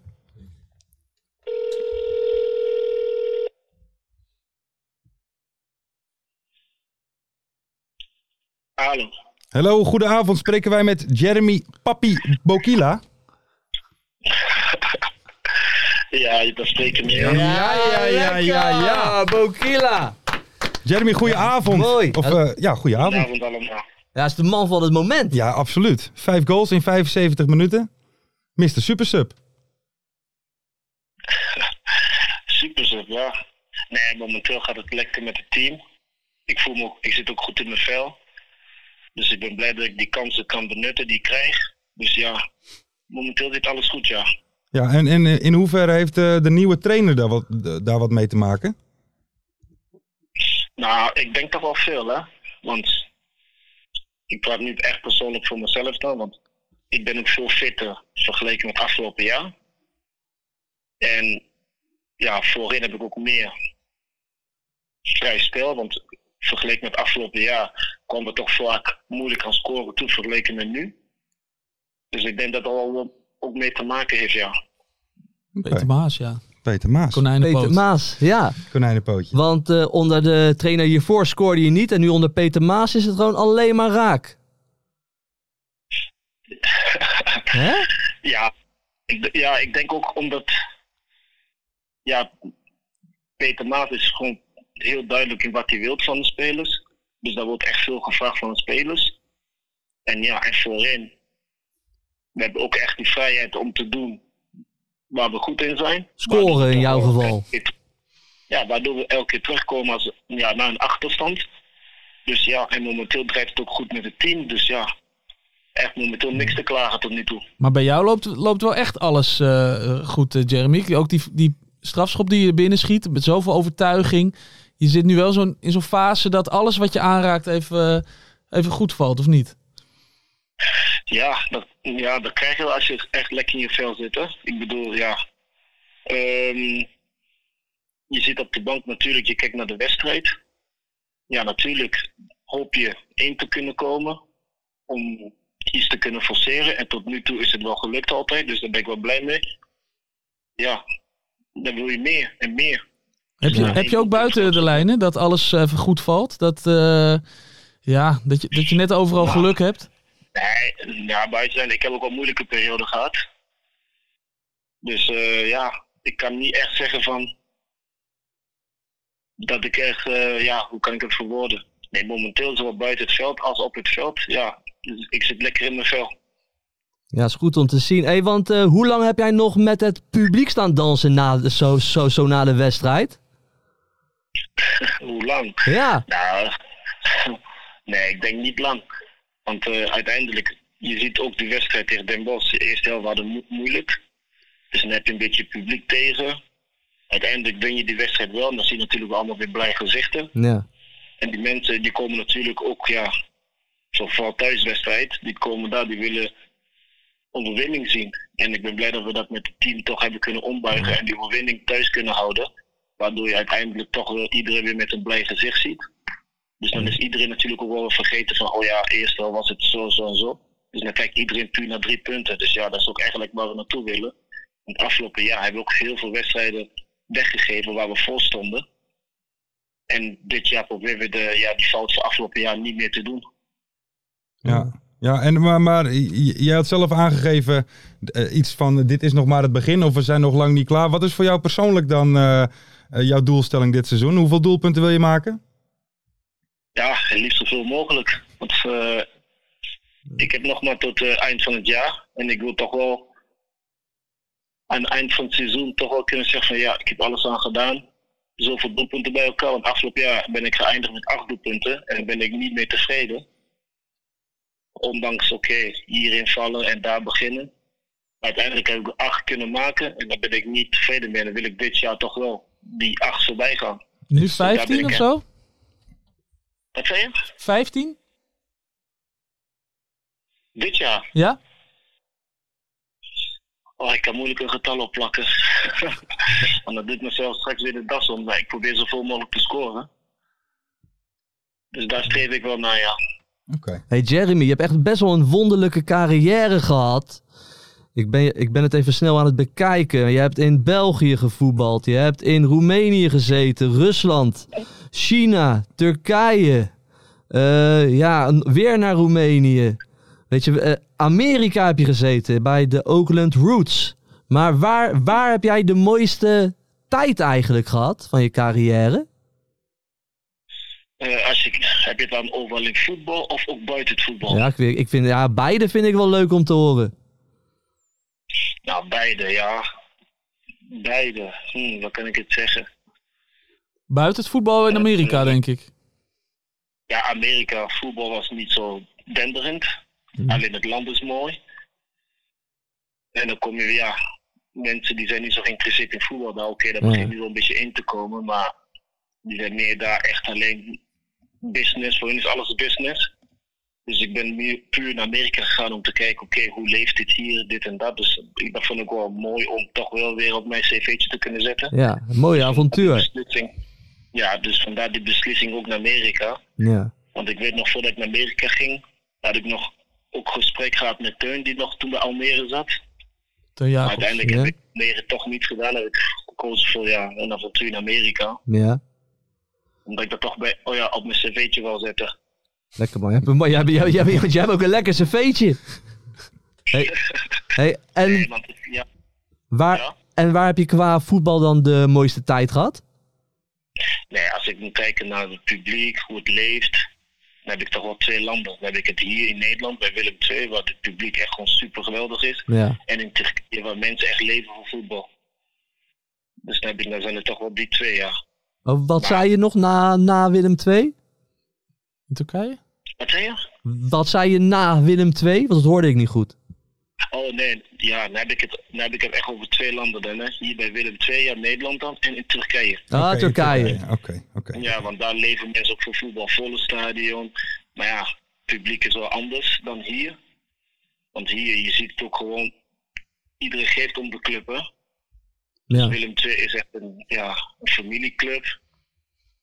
S7: Hallo.
S4: Hallo, goedenavond. Spreken wij met Jeremy Papi Bokila?
S7: Ja, je bent spreken me. Ja.
S4: Ja, ja, ja, ja, ja.
S5: Bokila.
S4: Jeremy, goedenavond.
S5: Mooi.
S4: Of, eh, ja, goedenavond.
S7: Goedenavond allemaal.
S5: Ja, is de man van het moment.
S4: Ja, absoluut. Vijf goals in 75 minuten. Mr. Supersub.
S7: Super zo, ja. Nee, momenteel gaat het lekker met het team. Ik voel me ook, ik zit ook goed in mijn vel. Dus ik ben blij dat ik die kansen kan benutten die ik krijg. Dus ja, momenteel zit alles goed, ja.
S4: Ja, en, en eh, in hoeverre heeft eh, de nieuwe trainer daar wat, daar wat mee te maken?
S7: Nou, ik denk toch wel veel, hè. Want ik praat nu echt persoonlijk voor mezelf dan. Want ik ben ook veel fitter vergeleken met afgelopen jaar. En ja, voorin heb ik ook meer vrij spel. Want vergeleken met afgelopen jaar kwam het toch vaak moeilijk aan scoren toe vergeleken met nu. Dus ik denk dat dat al wel ook mee te maken heeft, ja.
S6: Peter Maas, ja.
S4: Peter Maas.
S6: Konijnenpoot.
S5: Peter Maas, ja.
S4: Konijnenpootje.
S5: Want eh, onder de trainer hiervoor scoorde je niet. En nu onder Peter Maas is het gewoon alleen maar raak. Hè?
S7: Ja, ik, d- ja, ik denk ook omdat. Ja, Peter Maas is gewoon heel duidelijk in wat hij wilt van de spelers. Dus daar wordt echt veel gevraagd van de spelers. En ja, en voorin. We hebben ook echt die vrijheid om te doen waar we goed in zijn. Waardoor
S5: Scoren
S7: we
S5: in jouw
S7: elke
S5: geval.
S7: keer- Ja, waardoor we elke keer terugkomen als, ja, naar een achterstand. Dus ja, en momenteel drijft het ook goed met het team. Dus ja, echt momenteel niks te klagen tot nu toe.
S6: Maar bij jou loopt, loopt wel echt alles eh, goed, eh, Jeremy. Ook die, die strafschop die je binnenschiet, met zoveel overtuiging. Je zit nu wel zo'n in zo'n fase dat alles wat je aanraakt even, eh, even goed valt, of niet?
S7: Ja, dat, ja, dat krijg je wel als je echt lekker in je vel zit. Hè? Ik bedoel, ja. Ehm, je zit op de bank natuurlijk, je kijkt naar de wedstrijd. Ja, natuurlijk hoop je één te kunnen komen om iets te kunnen forceren. En tot nu toe is het wel gelukt altijd, dus daar ben ik wel blij mee. Ja, dan wil je meer en meer.
S6: Heb je,
S7: Ja.
S6: heb je ook buiten de lijnen dat alles even goed valt? Dat, eh, ja, dat, je, dat je net overal
S7: Ja.
S6: geluk hebt?
S7: Nee, ja, buiten zijn. Ik heb ook wel moeilijke perioden gehad. Dus eh, ja, ik kan niet echt zeggen van. Dat ik echt, eh, ja, hoe kan ik het verwoorden? Nee, momenteel zowel buiten het veld als op het veld. Ja, dus ik zit lekker in mijn vel.
S5: Ja, is goed om te zien. Hey, want eh, hoe lang heb jij nog met het publiek staan dansen na, de- zo, zo, zo na de wedstrijd?
S7: Hoe lang?
S5: Ja,
S7: Nou, nee, ik denk niet lang. Want eh, uiteindelijk, je ziet ook die wedstrijd tegen Den Bosch. De eerste helft hadden mo moeilijk. Dus dan heb je een beetje publiek tegen. Uiteindelijk win je die wedstrijd wel. En dan zie je natuurlijk allemaal weer blij gezichten.
S5: ja.
S7: En die mensen die komen natuurlijk ook, ja, zo vooral thuiswedstrijd. Die komen daar, die willen overwinning zien. En ik ben blij dat we dat met het team toch hebben kunnen ombuigen. En die overwinning thuis kunnen houden. Waardoor je uiteindelijk toch wel iedereen weer met een blij gezicht ziet. Dus dan is iedereen natuurlijk ook wel vergeten van, oh ja, eerst wel was het zo, zo en zo. Dus dan kijkt iedereen puur naar drie punten. Dus ja, dat is ook eigenlijk waar we naartoe willen. Want afgelopen jaar hebben we ook heel veel wedstrijden weggegeven waar we vol stonden. En dit jaar proberen we de, ja, die fout van afgelopen jaar niet meer te doen.
S4: Ja. Ja, en, maar, maar j- j- jij had zelf aangegeven eh, iets van eh, dit is nog maar het begin of we zijn nog lang niet klaar. Wat is voor jou persoonlijk dan eh, eh, jouw doelstelling dit seizoen? Hoeveel doelpunten wil je maken?
S7: Ja, het liefst zoveel mogelijk. Want eh, ik heb nog maar tot eh eind van het jaar. En ik wil toch wel aan het eind van het seizoen toch wel kunnen zeggen van ja, ik heb alles aan gedaan. Zoveel doelpunten bij elkaar. Want afgelopen jaar ben ik geëindigd met acht doelpunten. En ben ik niet meer tevreden. Ondanks, oké, hierin vallen en daar beginnen. Uiteindelijk heb ik er acht kunnen maken. En daar ben ik niet tevreden mee. Dan wil ik dit jaar toch wel die acht voorbij gaan.
S6: Nu
S7: ben
S6: 15
S7: ik,
S6: of
S7: hè.
S6: zo?
S7: Wat zei je?
S6: 15?
S7: Dit jaar?
S6: Ja?
S7: Oh, ik kan moeilijk een getal opplakken. Want dat doet mezelf straks weer de das om. Maar ik probeer zoveel mogelijk te scoren. Dus daar streef ik wel naar, ja.
S4: Oké.
S5: Hey Jeremy, je hebt echt best wel een wonderlijke carrière gehad. Ik ben, ik ben het even snel aan het bekijken. Je hebt in België gevoetbald. Je hebt in Roemenië gezeten. Rusland. China. Turkije. eh, ja, n- weer naar Roemenië. Weet je, eh, Amerika heb je gezeten bij de Oakland Roots. Maar waar, waar heb jij de mooiste tijd eigenlijk gehad van je carrière?
S7: Eh, als ik, heb je het dan overal in voetbal of ook buiten het voetbal?
S5: Ja, ik, weet- ik vind, ja, beide vind ik wel leuk om te horen.
S7: Nou, beide, ja. Beide. Hm, wat kan ik het zeggen?
S6: Buiten het voetbal in Amerika, denk ik.
S7: ja, Amerika, voetbal was niet zo denderend. Alleen het land is mooi. En dan kom je weer, ja, mensen die zijn niet zo geïnteresseerd in voetbal. Nou, oké, daar begint nu wel een beetje in te komen, maar die zijn meer daar echt alleen business. Voor hen is alles business. Dus ik ben nu puur naar Amerika gegaan om te kijken, oké, hoe leeft dit hier, dit en dat. Dus ik, dat vond ik wel mooi om toch wel weer op mijn cv'tje te kunnen zetten.
S5: Ja, een mooie avontuur.
S7: Beslissing. Ja, dus vandaar die beslissing ook naar Amerika.
S5: Ja.
S7: Want ik weet nog voordat ik naar Amerika ging, had ik nog ook gesprek gehad met Teun, die nog toen bij Almere zat.
S6: Ten
S7: maar
S6: Jacobs.
S7: uiteindelijk
S5: ja.
S7: heb ik Almere toch niet gedaan. Heb ik gekozen voor ja, een avontuur in Amerika.
S5: Ja,
S7: Omdat ik dat toch bij, oh ja, op mijn cv'tje wil zetten.
S5: lekker man. Jij hebt, maar jij, hebt- jij, hebt- jij hebt ook een lekker cv'tje. Hey, hey,
S7: Nee,
S5: en,
S7: want ja,
S5: waar,
S7: ja.
S5: en waar heb je qua voetbal dan de mooiste tijd gehad?
S7: Nee, als ik moet kijken naar het publiek, hoe het leeft, dan heb ik toch wel twee landen. Dan heb ik het hier in Nederland bij Willem II, waar het publiek echt gewoon super geweldig is.
S5: Ja.
S7: En in Turkije, waar mensen echt leven voor voetbal. Dus dan, heb ik, dan zijn er toch wel die twee, ja.
S5: Oh, Wat zei je nog na, na Willem 2?
S6: In Turkije?
S7: Wat zei je?
S5: Wat zei je na Willem 2? Want dat hoorde ik niet goed.
S7: Oh nee, ja, dan heb ik het, dan heb ik het echt over twee landen dan. Hè. Hier bij Willem II, ja, Nederland dan en in Turkije.
S5: Ah,
S4: Oké,
S5: Turkije.
S4: Oké, oké.
S7: Ja, want daar leven mensen ook voor voetbal, volle stadion. Maar ja, het publiek is wel anders dan hier. Want hier, je ziet het ook gewoon, iedereen geeft om de club, hè.
S5: Ja.
S7: Willem II is echt een, ja, een familieclub.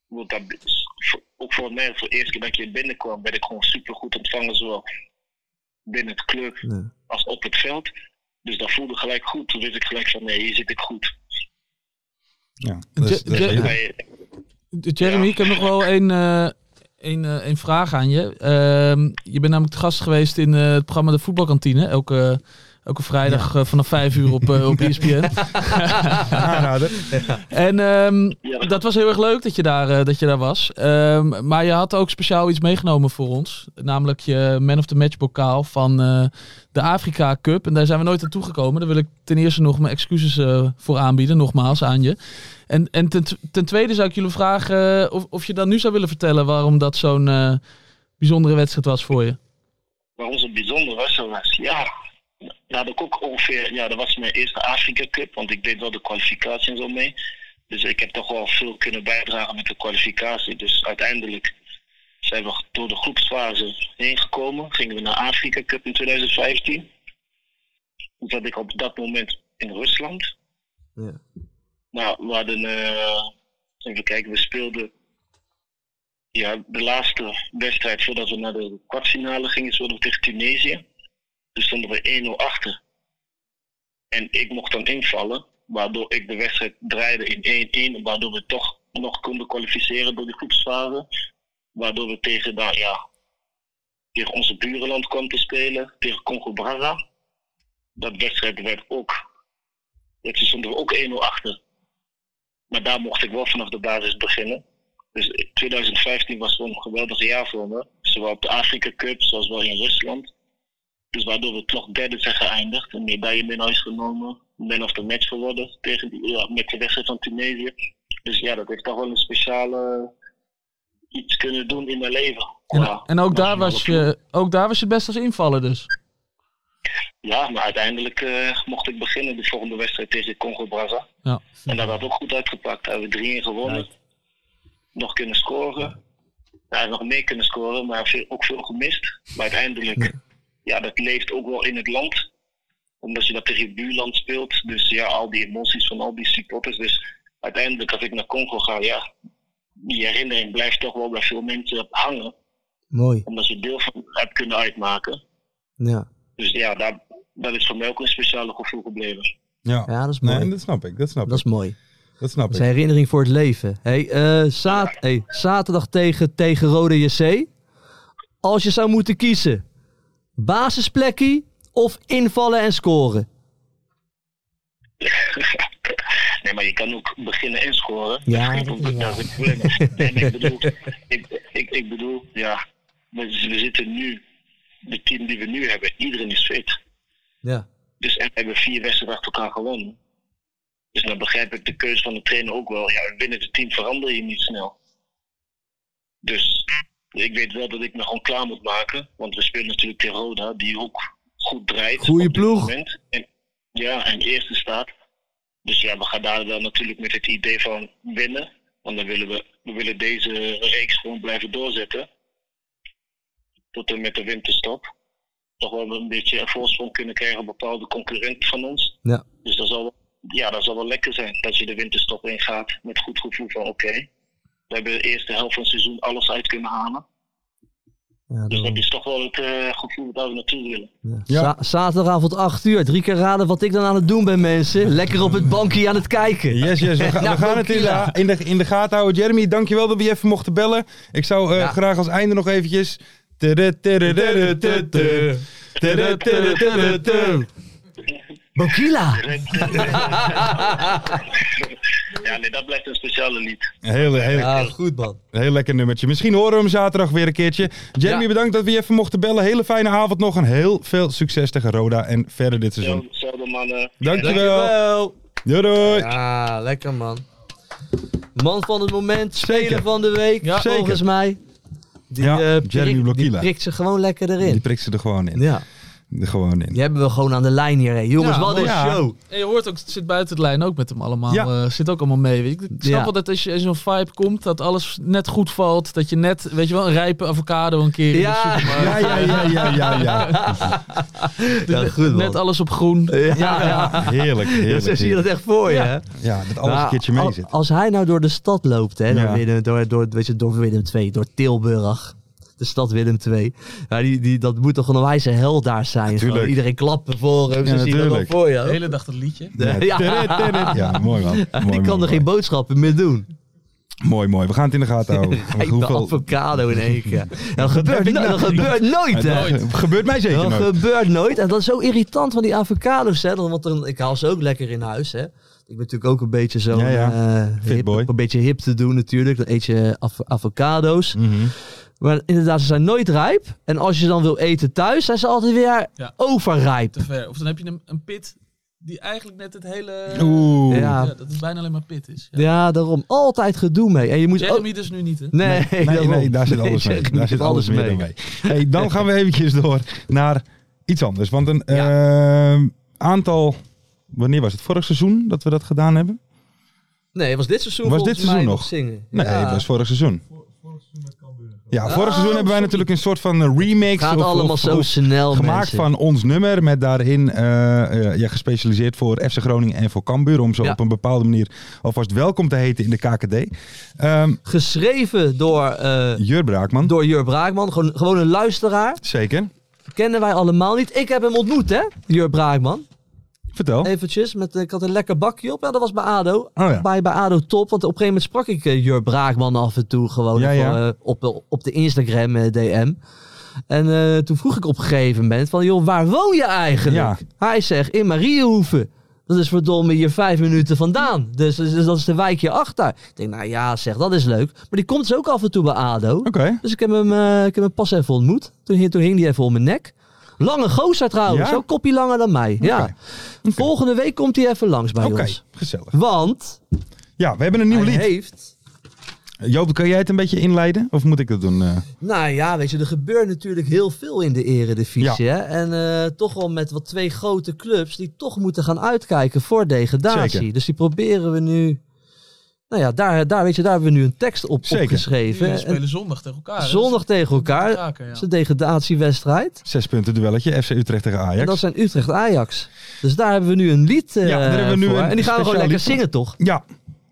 S7: Want dat, is voor- ook voor mij, voor de eerste keer dat ik hier binnenkwam, werd ik gewoon supergoed ontvangen, zowel binnen het club
S5: Ja.
S7: als op het veld. Dus dat voelde gelijk goed. Toen wist ik gelijk van, nee, hier zit ik goed.
S4: Ja,
S6: Je-
S4: dus, dus-
S6: je-
S4: ja.
S7: Bij-
S6: Jeremy,
S7: Ja.
S6: ik heb nog wel één eh, één, eh, één vraag aan je. Ehm, je bent namelijk te gast geweest in eh, het programma De Voetbalkantine. Elke, elke vrijdag eh, vanaf 5 uur op, eh, op ESPN.
S4: Aanrader.
S6: En ehm,
S7: Ja.
S6: dat was heel erg leuk dat je daar, eh, dat je daar was. Ehm, maar je had ook speciaal iets meegenomen voor ons. Namelijk je Man of the Match bokaal van eh, de Afrika Cup. En daar zijn we nooit aan toegekomen. Daar wil ik ten eerste nog mijn excuses eh, voor aanbieden. Nogmaals aan je. En, en ten, ten tweede zou ik jullie vragen eh, of, of je dan nu zou willen vertellen waarom dat zo'n eh, bijzondere wedstrijd was voor je.
S7: waarom zo'n bijzonder was, dat was ja, daar had ik ook ongeveer, ja, dat was mijn eerste Afrika Cup, want ik deed wel de kwalificatie en zo mee. Dus ik heb toch wel veel kunnen bijdragen met de kwalificatie. Dus uiteindelijk zijn we door de groepsfase heen gekomen, gingen we naar Afrika Cup in 2015. Toen zat ik op dat moment in Rusland.
S5: Ja.
S7: Nou, we hadden, eh, even kijken, we speelden ja, de laatste wedstrijd voordat we naar de kwartfinale gingen, speelden we tegen Tunesië. Toen stonden we 1-0 achter. En ik mocht dan invallen, waardoor ik de wedstrijd draaide in 1-1, en waardoor we toch nog konden kwalificeren door die groepsfase. Waardoor we tegen, nou, ja, tegen onze burenland kwamen te spelen, tegen Congo-Braza. Dat wedstrijd werd ook, dat stonden we ook 1-0 achter. Maar daar mocht ik wel vanaf de basis beginnen. Dus 2015 was gewoon een geweldig jaar voor me. Zowel op de Afrika Cup, zoals wel in Rusland. Dus waardoor we toch derde zijn geëindigd. Een medaille mee naar huis genomen. Man of the match geworden tegen die, ja, met de wedstrijd van Tunesië. Dus ja, dat heeft toch wel een speciale eh, iets kunnen doen in mijn leven.
S6: En,
S7: Ja,
S6: en ook, daar
S7: nationale
S6: was
S7: ploeg.
S6: je, ook daar was je best als invaller dus.
S7: Ja, maar uiteindelijk eh, mocht ik beginnen de volgende wedstrijd tegen Congo-Brazza.
S6: Ja.
S7: En dat had ook goed uitgepakt. Daar hebben we 3-1 gewonnen. Nog kunnen scoren. Ja, nog meer kunnen scoren, maar veel, ook veel gemist. Maar uiteindelijk, ja. dat leeft ook wel in het land. Omdat je dat tegen je buurland speelt. Dus ja, al die emoties van al die supporters. Dus uiteindelijk, als ik naar Congo ga, ja, die herinnering blijft toch wel bij veel mensen hangen.
S5: Mooi.
S7: Omdat je deel van hebt kunnen uitmaken.
S5: Ja.
S7: Dus ja, daar, dat is voor mij ook een speciale gevoel gebleven.
S4: Ja.
S5: ja, dat is mooi.
S4: Nee, dat snap ik, dat snap
S5: Dat
S4: ik.
S5: is mooi.
S4: Dat snap
S5: Dat
S4: ik.
S5: is een herinnering voor het leven. Hey, eh, zaad- hey, zaterdag tegen, tegen Rode JC. Als je zou moeten kiezen. Basisplekkie of invallen en scoren?
S7: nee, maar je kan ook beginnen en scoren.
S5: Ja,
S7: dat is
S5: dat
S7: geen probleem.
S5: is waar.
S7: Dat is geen probleem. Nee, maar ik bedoel, ik, ik, ik bedoel ja, we, we zitten nu, de team die we nu hebben, iedereen is fit.
S5: Ja.
S7: Dus en we hebben vier wedstrijden achter elkaar gewonnen. Dus dan begrijp ik de keuze van de trainer ook wel. Ja, binnen het team verander je niet snel. Dus ik weet wel dat ik me gewoon klaar moet maken. Want we spelen natuurlijk tegen Roda, die ook goed draait.
S5: Goeie
S7: op dit
S5: ploeg.
S7: moment. En, ja, en eerste staat. Dus ja, we gaan daar wel natuurlijk met het idee van winnen. Want dan willen we, we willen deze reeks gewoon blijven doorzetten. Tot en met de winterstop. Toch wel een beetje een voorsprong kunnen krijgen op bepaalde concurrenten van ons.
S5: Ja.
S7: Dus dat zal, ja, dat zal wel lekker zijn. Dat je de winterstop ingaat met goed gevoel van oké. we hebben de eerste helft van het seizoen alles uit kunnen halen. Dus
S5: ja, daarom.
S7: dat is toch wel het eh, gevoel waar we naartoe willen.
S4: Ja.
S5: Za- zaterdagavond 8 uur. Drie keer raden wat ik dan aan het doen ben, mensen. Lekker op het bankje aan het kijken.
S4: Yes, yes. We, ga-
S5: Nou,
S4: we gaan het in de,
S5: Kokila.
S4: in, de, in de gaten houden. Jeremy, dankjewel dat we je even mochten bellen. Ik zou eh,
S5: Ja.
S4: graag als einde nog eventjes... Tudu, tudu, tudu, tudu, tudu. Tudu, tudu, tudu, tudu.
S5: Bokila!
S7: Ja, nee, dat blijft een speciale lied.
S4: Een heel, heel,
S5: Ja, goed man.
S4: een heel lekker nummertje. Misschien horen we hem zaterdag weer een keertje. Jamie,
S5: Ja.
S4: bedankt dat we je even mochten bellen. Hele fijne avond nog en heel veel succes tegen Roda en verder dit
S7: Zo,
S4: seizoen.
S7: zo de mannen.
S4: Dankjewel. Doei doei.
S5: Ja, lekker man. Man van het moment,
S4: Zeker.
S5: speler van de week,
S4: Ja, zeker.
S5: volgens mij. Die,
S4: Ja,
S5: eh,
S4: Jeremy
S5: prikt-
S4: Blokila.
S5: Die prikt ze gewoon lekker
S4: Die
S5: erin.
S4: prikt ze er gewoon in.
S5: Ja,
S4: Er gewoon in.
S5: die hebben we gewoon aan de lijn hier. hè. Jongens,
S6: Ja,
S5: wat een
S4: ja.
S5: show.
S6: En je hoort ook, het zit buiten de lijn ook met hem allemaal.
S4: Ja.
S6: eh, zit ook allemaal mee. Weet je. Ik snap
S5: Ja.
S6: wel dat als je in zo'n vibe komt, dat alles net goed valt. Dat je net, weet je wel, een rijpe avocado een keer in de
S5: Ja.
S6: supermarkt.
S4: Ja, ja, ja, ja, ja, ja.
S5: Ja, goed man.
S6: Net alles op groen.
S5: ja, ja.
S4: Heerlijk,
S5: Ja, zo
S4: heerlijk.
S5: zie je dat
S4: heerlijk.
S5: echt voor je.
S6: Ja.
S5: hè?
S4: Ja, dat alles een
S5: Nou,
S4: keertje mee
S5: al-
S4: zit.
S5: Als hij nou door de stad loopt, hè,
S4: Ja.
S5: door, Willem, door, door, weet je, door Willem II, door Tilburg. De stad Willem II. Ja, die, die, dat moet toch een wijze held daar zijn.
S4: Natuurlijk.
S5: Gewoon Iedereen klappen voor hem. Ze zien
S4: Ja,
S5: dat wel
S4: natuurlijk.
S5: voor je.
S6: De
S5: hoor.
S6: hele dag dat liedje.
S5: Ja,
S4: Ja, tudu, tudu. ja, mooi man. Mooi,
S5: die
S4: mooi,
S5: kan er
S4: mooi.
S5: geen boodschappen meer doen.
S4: Mooi, mooi. We gaan het in de gaten houden.
S5: Rijpe avocado in één keer. Ja, dat gebeurt, no- dat gebeurt nooit, hè?
S4: nou Het gebeurt mij zeker
S5: Dat
S4: nooit.
S5: gebeurt nooit. En dat is zo irritant van die avocado's. Hè? Want dan, ik haal ze ook lekker in huis. Hè? Ik ben natuurlijk ook een beetje zo.
S4: Ja, ja. Fit boy.
S5: Een beetje hip te doen natuurlijk. Dan eet je av- avocado's.
S4: Mhm.
S5: Maar inderdaad, ze zijn nooit rijp. En als je dan wil eten thuis, zijn ze altijd weer
S6: Ja.
S5: overrijp.
S6: Te ver. Of dan heb je een, een pit die eigenlijk net het hele...
S4: Oeh.
S5: Ja.
S6: Ja, dat het bijna alleen maar pit is. Ja.
S5: Ja, daarom. Altijd gedoe mee. En je moet ook...
S6: Jeremy dus nu niet, hè?
S5: Oh. Nee,
S4: Nee,
S5: daarom.
S4: nee, daar zit
S5: Nee,
S4: alles mee.
S5: Jeremy
S4: Daar
S5: heeft
S4: zit alles meer mee. mee. Hey, dan gaan we eventjes door naar iets anders. Want een ehm, aantal... Wanneer was het? Vorig seizoen dat we dat gedaan hebben?
S5: Nee, was dit seizoen
S4: Was
S5: volgens
S4: dit seizoen
S5: mij
S4: nog?
S5: zingen.
S4: Nee,
S5: Ja.
S4: het was vorig seizoen. Ja, vorig
S5: Ah,
S4: seizoen hebben wij
S5: sorry.
S4: natuurlijk een soort van eh, remix.
S5: Gaat
S4: of- of-
S5: allemaal zo
S4: of-
S5: snel,
S4: Gemaakt
S5: mensen.
S4: van ons nummer, met daarin eh, eh, ja, gespecialiseerd voor FC Groningen en voor Cambuur. Om ze
S5: Ja.
S4: op een bepaalde manier alvast welkom te heten in de KKD. Ehm
S5: Geschreven door, eh
S4: Jur Braakman,
S5: door Jur Braakman. Gewoon, gewoon een luisteraar.
S4: zeker.
S5: kennen wij allemaal niet. Ik heb hem ontmoet, hè? Jur Braakman.
S4: Vertel.
S5: Eventjes, met, eh, ik had een lekker bakje op. Ja, dat was bij ADO.
S4: Oh ja.
S5: Bij, bij ADO top, want op een gegeven moment sprak ik eh, Jur Braakman af en toe gewoon
S4: Ja,
S5: voor,
S4: ja.
S5: eh, op, op de Instagram eh, DM. En eh, toen vroeg ik op een gegeven moment van, joh, waar woon je eigenlijk?
S4: Ja.
S5: Hij zegt, in Mariehoeven. Dat is verdomme hier vijf minuten vandaan. Dus, dus- dus dat is de wijkje achter. Ik denk, nou ja, zeg, dat is leuk. Maar die komt dus ook af en toe bij ADO.
S4: Oké.
S5: Dus ik heb hem, eh, ik heb hem pas even ontmoet. Toen, hing- toen hing hij even om mijn nek. Lange gozer trouwens,
S4: Ja?
S5: zo'n kopje langer dan mij. Ja. Volgende week komt hij even langs bij
S4: Oké,
S5: ons.
S4: gezellig.
S5: Want
S4: Ja, we hebben een nieuw
S5: hij
S4: lied.
S5: heeft...
S4: Joop, kan jij het een beetje inleiden? Of moet ik dat doen? eh?
S5: Nou ja, weet je, er gebeurt natuurlijk heel veel in de eredivisie. Hè? En eh, toch wel met wat twee grote clubs die toch moeten gaan uitkijken voor degradatie.
S4: Zeker.
S5: Dus die proberen we nu... Nou ja, daar, daar, weet je, daar hebben we nu een tekst op
S4: Zeker.
S5: opgeschreven.
S6: Jullie
S5: En
S6: spelen zondag tegen elkaar. hè?
S5: eh, zondag tegen elkaar.
S6: Dat is-
S5: Dat is
S6: ja.
S5: een degradatiewedstrijd.
S4: Zes punten duelletje, FC Utrecht tegen Ajax.
S5: En dat zijn Utrecht Ajax. Dus daar hebben we nu een lied eh,
S4: Ja, daar hebben we nu
S5: voor.
S4: een
S5: En die gaan we gewoon
S4: speciaal
S5: lekker
S4: lied.
S5: zingen, toch?
S4: Ja,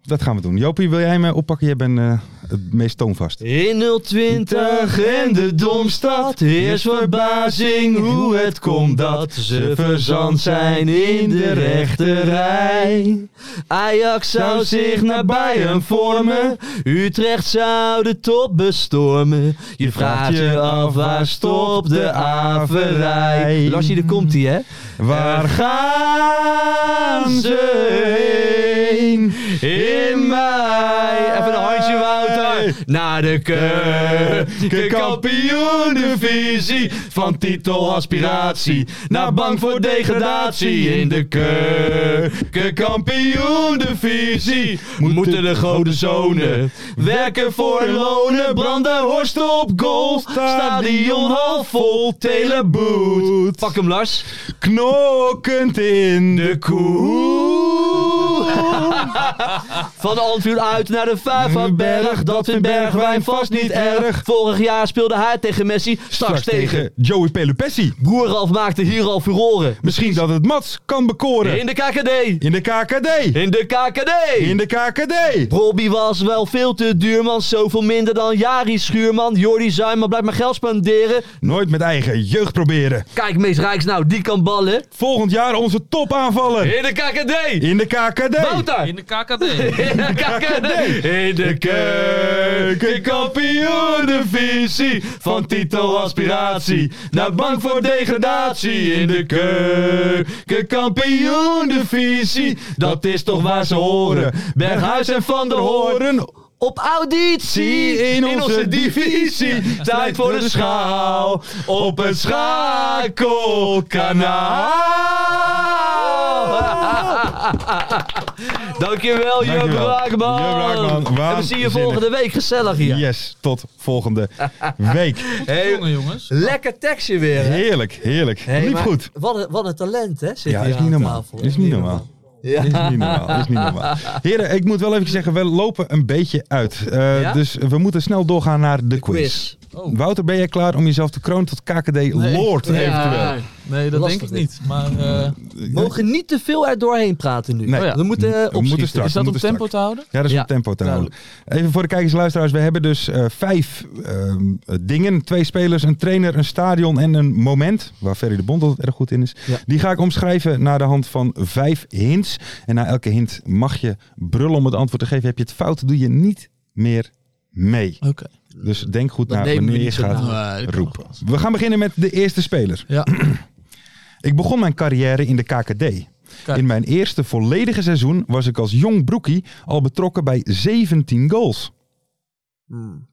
S4: dat gaan we doen. Jopie, wil jij me oppakken? Jij bent eh, het meest toonvast.
S5: In 020 en de Domstad heerst verbazing hoe het komt dat ze verzand zijn in de rechte rij. Ajax zou zich naar Bayern vormen, Utrecht zou de top bestormen. Je vraagt je af waar stopt de averij. Lassie, daar komt hij hè?
S4: Waar gaan ze heen?
S5: In mei. Even een handje, Wouter. Naar de keukenkampioen-divisie. Van titelaspiratie naar bang voor degradatie. In de keukenkampioen-divisie moeten de gouden zonen werken voor lonen. Branden Horst op goal. Stadion half vol. Teleboet. Pak hem, Lars.
S4: Knokkend in de koe.
S5: Van Anfield uit naar de Vijverberg. Dat vindt Bergwijn vast niet erg. Vorig jaar speelde hij tegen Messi. Straks tegen.
S4: Joey Pelupessi.
S5: Broer Ralf maakte hier al furoren.
S4: Misschien dat het Mats kan bekoren.
S5: In de KKD.
S4: In de KKD.
S5: In de KKD.
S4: In de KKD.
S5: Robbie was wel veel te duur, man. Zoveel minder dan Jari Schuurman. Jordi Zuiman blijft maar geld spenderen.
S4: Nooit met eigen jeugd proberen.
S5: Kijk, Mees Rijks nou, die kan ballen.
S4: Volgend jaar onze top aanvallen.
S5: In de KKD.
S4: In de KKD. KKD.
S5: Wouter!
S6: In de KKD.
S5: In de KKD. In de
S4: keukenkampioenenvisie. Van titelaspiratie naar bang voor degradatie. In de keukenkampioenenvisie. Dat is toch waar ze horen. Berghuis en Van der Hoorn.
S5: Op auditie
S4: In onze divisie. Tijd voor de schaal. Op het schakelkanaal.
S5: Dankjewel, Jurgen
S4: Dankjewel.
S5: Braakman.
S4: Jurgen Braakman,
S5: En we zien je
S4: waanzinnig.
S5: volgende week gezellig hier.
S4: Yes, tot volgende week.
S5: Hey,
S6: Jongen, jongens.
S5: lekker tekstje weer. hè?
S4: Heerlijk, heerlijk.
S5: Hey,
S4: Liep
S5: maar
S4: goed.
S5: Wat een, wat een talent, hè? Zit
S4: Ja,
S5: hier
S4: is
S5: aan
S4: niet normaal.
S5: tafel.
S4: Is niet normaal.
S5: Ja.
S4: Is niet normaal, is niet normaal. Heren, ik moet wel even zeggen, we lopen een beetje uit. Eh,
S5: Ja?
S4: Dus we moeten snel doorgaan naar de, quiz.
S5: Quiz.
S6: Oh.
S4: Wouter, ben jij klaar om jezelf te kronen tot KKD Lord
S5: Ja.
S4: eventueel?
S6: Nee, dat
S5: Lastig
S6: denk ik
S5: dit.
S6: niet. Maar eh,
S5: We mogen niet te veel er doorheen praten nu.
S4: Nee.
S5: We moeten eh,
S4: We moeten
S5: opschieten.
S4: straks.
S6: is dat
S4: we
S6: om
S4: moeten
S6: tempo
S4: straks.
S6: te houden?
S4: Ja, dat is
S5: Ja,
S4: om tempo te houden. Even voor de kijkers en luisteraars. We hebben dus eh, vijf ehm, dingen. Twee spelers, een trainer, een stadion en een moment. Waar Ferry de Bond altijd erg goed in is.
S5: Ja.
S4: Die ga ik omschrijven naar de hand van vijf hints. En na elke hint mag je brullen om het antwoord te geven. Heb je het fout, doe je niet meer mee.
S6: Oké.
S4: Dus denk goed
S5: Dat
S4: na
S5: nemen we
S4: wanneer je
S5: niet eh, zo
S4: gaat
S5: nauw.
S6: Nee, dat kan
S4: roepen.
S6: nog wel.
S4: We gaan beginnen met de eerste speler.
S6: Ja.
S4: Ik begon mijn carrière in de KKD.
S6: Kijk.
S4: In mijn eerste volledige seizoen was ik als jong broekie al betrokken bij 17 goals.
S5: Hmm.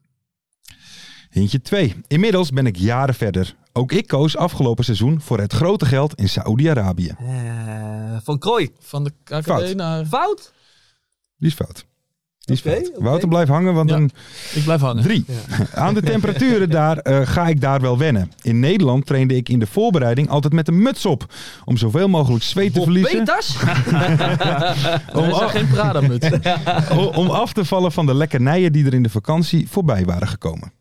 S4: Hintje 2. Inmiddels ben ik jaren verder. Ook ik koos afgelopen seizoen voor het grote geld in Saoedi-Arabië.
S5: Eh, van Krooi.
S6: Van de KKD
S4: Fout.
S6: naar...
S5: Fout?
S4: Die is fout. Die is
S5: Oké,
S4: fout.
S5: oké.
S4: Wouter, blijf hangen, want
S6: Ja.
S4: dan
S6: Ik blijf hangen.
S4: Drie. Aan de temperaturen daar eh, ga ik daar wel wennen. In Nederland trainde ik in de voorbereiding altijd met een muts op. Om zoveel mogelijk zweet te
S5: Bob
S4: verliezen. Oh.
S5: Peters?
S6: Er is daar geen Prada-muts. Oké.
S4: o- Om af te vallen van de lekkernijen die er in de vakantie voorbij waren gekomen.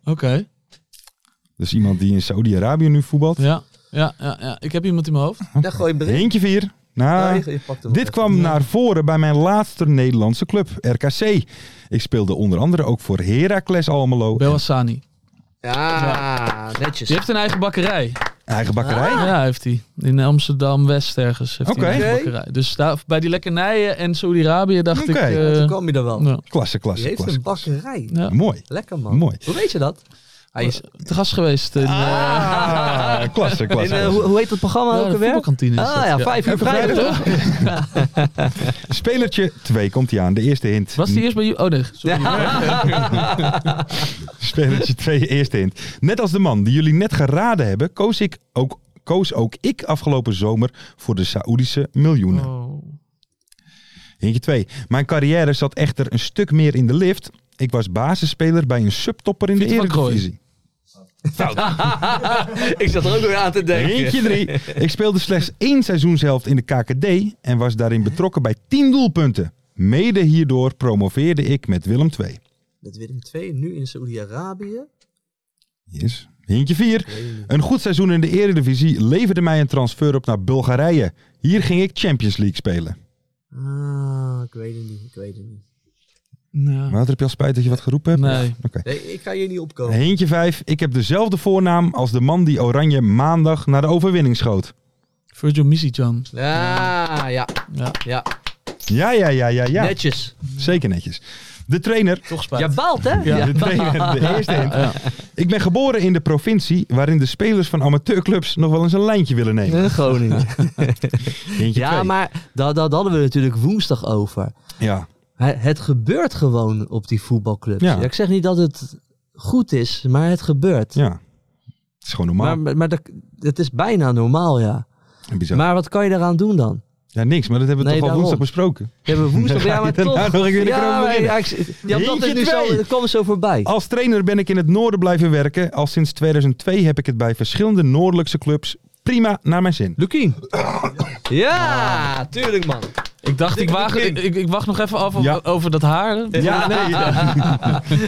S4: Dus iemand die in Saudi-Arabië nu voetbalt.
S6: Ja. Ja, ja, ja. Ik heb iemand in mijn hoofd.
S5: Daar gooi je hem erin.
S4: Eentje vier. Nou,
S5: Nee, je pakt hem
S4: dit
S5: wel
S4: kwam naar voren bij mijn laatste Nederlandse club, RKC. Ik speelde onder andere ook voor Heracles Almelo.
S6: Belhassani.
S5: even. Ja, netjes.
S6: Die heeft een eigen bakkerij.
S4: Eigen bakkerij.
S5: Ah.
S6: Ja, heeft hij. In Amsterdam-West ergens heeft hij
S4: Oké.
S6: een eigen
S5: Oké.
S6: bakkerij. Dus daar, bij die lekkernijen en Saudi-Arabië dacht
S4: Oké.
S6: ik...
S5: Ja,
S6: eh,
S5: Toen kwam je er wel.
S6: nou,
S4: Klasse,
S5: Die
S4: klasse,
S5: heeft
S4: klasse.
S5: een bakkerij.
S6: ja.
S4: Mooi.
S5: Lekker man.
S4: Mooi.
S5: Hoe weet je dat? Hij is
S6: te gast geweest in, eh,
S4: Ah, klasse,
S5: in,
S4: klasse.
S5: eh, hoe, hoe heet dat programma
S6: ja,
S5: ook
S6: de
S5: alweer?
S6: voetbalkantine. is
S5: Ah
S6: dat,
S5: ja, vijf uur vrijdag toch?
S4: Spelertje 2 komt hij aan, de eerste hint.
S6: Was die eerst bij jou? Oh nee, sorry.
S4: Spelertje 2, eerste hint. Net als de man die jullie net geraden hebben, koos, ik ook, koos ook ik afgelopen zomer voor de Saoedische miljoenen.
S6: Oh.
S4: Hintje 2. Mijn carrière zat echter een stuk meer in de lift. Ik was basisspeler bij een subtopper in de
S6: Pieter van Krooi.
S4: Eredivisie.
S5: Ik zat er ook weer aan te denken.
S4: Hintje 3. Ik speelde slechts één seizoenshelft in de KKD en was daarin betrokken bij 10 doelpunten. Mede hierdoor promoveerde ik met Willem 2.
S5: Met Willem II, nu in Saoedi-Arabië.
S4: Yes. Hintje 4. Een goed seizoen in de Eredivisie leverde mij een transfer op naar Bulgarije. Hier ging ik Champions League spelen.
S5: Ah, ik weet het niet, ik weet het niet.
S6: Nou,
S4: Wouter, heb je al spijt dat je wat geroepen hebt?
S6: Nee.
S4: Oké.
S5: Nee, ik ga hier niet opkomen.
S4: Hintje 5. Ik heb dezelfde voornaam als de man die Oranje maandag naar de overwinning schoot.
S6: Virgil Misijan.
S5: Ah, ja,
S6: Ja,
S5: ja.
S4: Ja, ja, ja, ja, ja.
S5: Netjes.
S4: Zeker netjes. De trainer.
S6: toch spijt.
S5: Ja, baalt hè? Ja.
S4: De trainer, de eerste hint.
S6: Ja.
S4: Ik ben geboren in de provincie waarin de spelers van amateurclubs nog wel eens een lijntje willen nemen.
S5: Eh, Groningen.
S4: Hintje
S5: Ja,
S4: twee.
S5: maar dat, dat hadden we natuurlijk woensdag over.
S4: Ja.
S5: Hè, Het gebeurt gewoon op die voetbalclubs.
S4: Ja.
S5: Ja, ik zeg niet dat het goed is, maar het gebeurt.
S4: ja. Het is gewoon normaal.
S5: Maar, maar, maar dat, het is bijna normaal, ja.
S4: Bizar.
S5: Maar wat kan je daaraan doen dan?
S4: Ja, niks, maar dat hebben we
S5: Nee,
S4: toch al woensdag
S5: daarom.
S4: besproken.
S5: Je hebt een woensdag, ja, maar
S4: je daarna
S5: toch.
S4: nog een keer de kroon
S5: ja, maar
S4: beginnen.
S5: ja, ik, Oh, ja, dat is
S4: Eentje
S5: nu zo,
S4: twee.
S5: dat kwam zo voorbij.
S4: Als trainer ben ik in het noorden blijven werken. Al sinds 2002 heb ik het bij verschillende noordelijkse clubs prima naar mijn zin.
S5: Lukien. Ja, tuurlijk man.
S6: Ik dacht, ik, waag, ik, ik, ik wacht nog even af op-
S4: Ja.
S6: over dat haar.
S4: Ja, nee.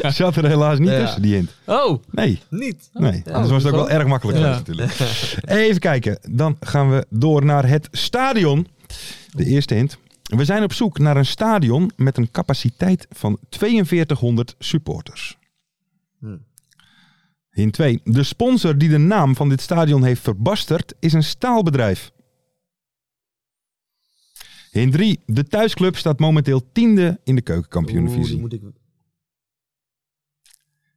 S4: ja. Zat er helaas niet
S5: Ja.
S4: tussen, die hint.
S6: Oh,
S4: Nee,
S5: Niet.
S4: nee. Anders was het ook wel erg makkelijk
S6: Ja.
S4: geweest natuurlijk. Even kijken, dan gaan we door naar het stadion. De eerste hint. We zijn op zoek naar een stadion met een capaciteit van 4200 supporters.
S5: Hmm.
S4: Hint 2. De sponsor die de naam van dit stadion heeft verbasterd is een staalbedrijf. In 3, de thuisclub staat momenteel tiende in de
S5: Oeh, die
S4: keukenkampioenvisie.
S5: moet ik...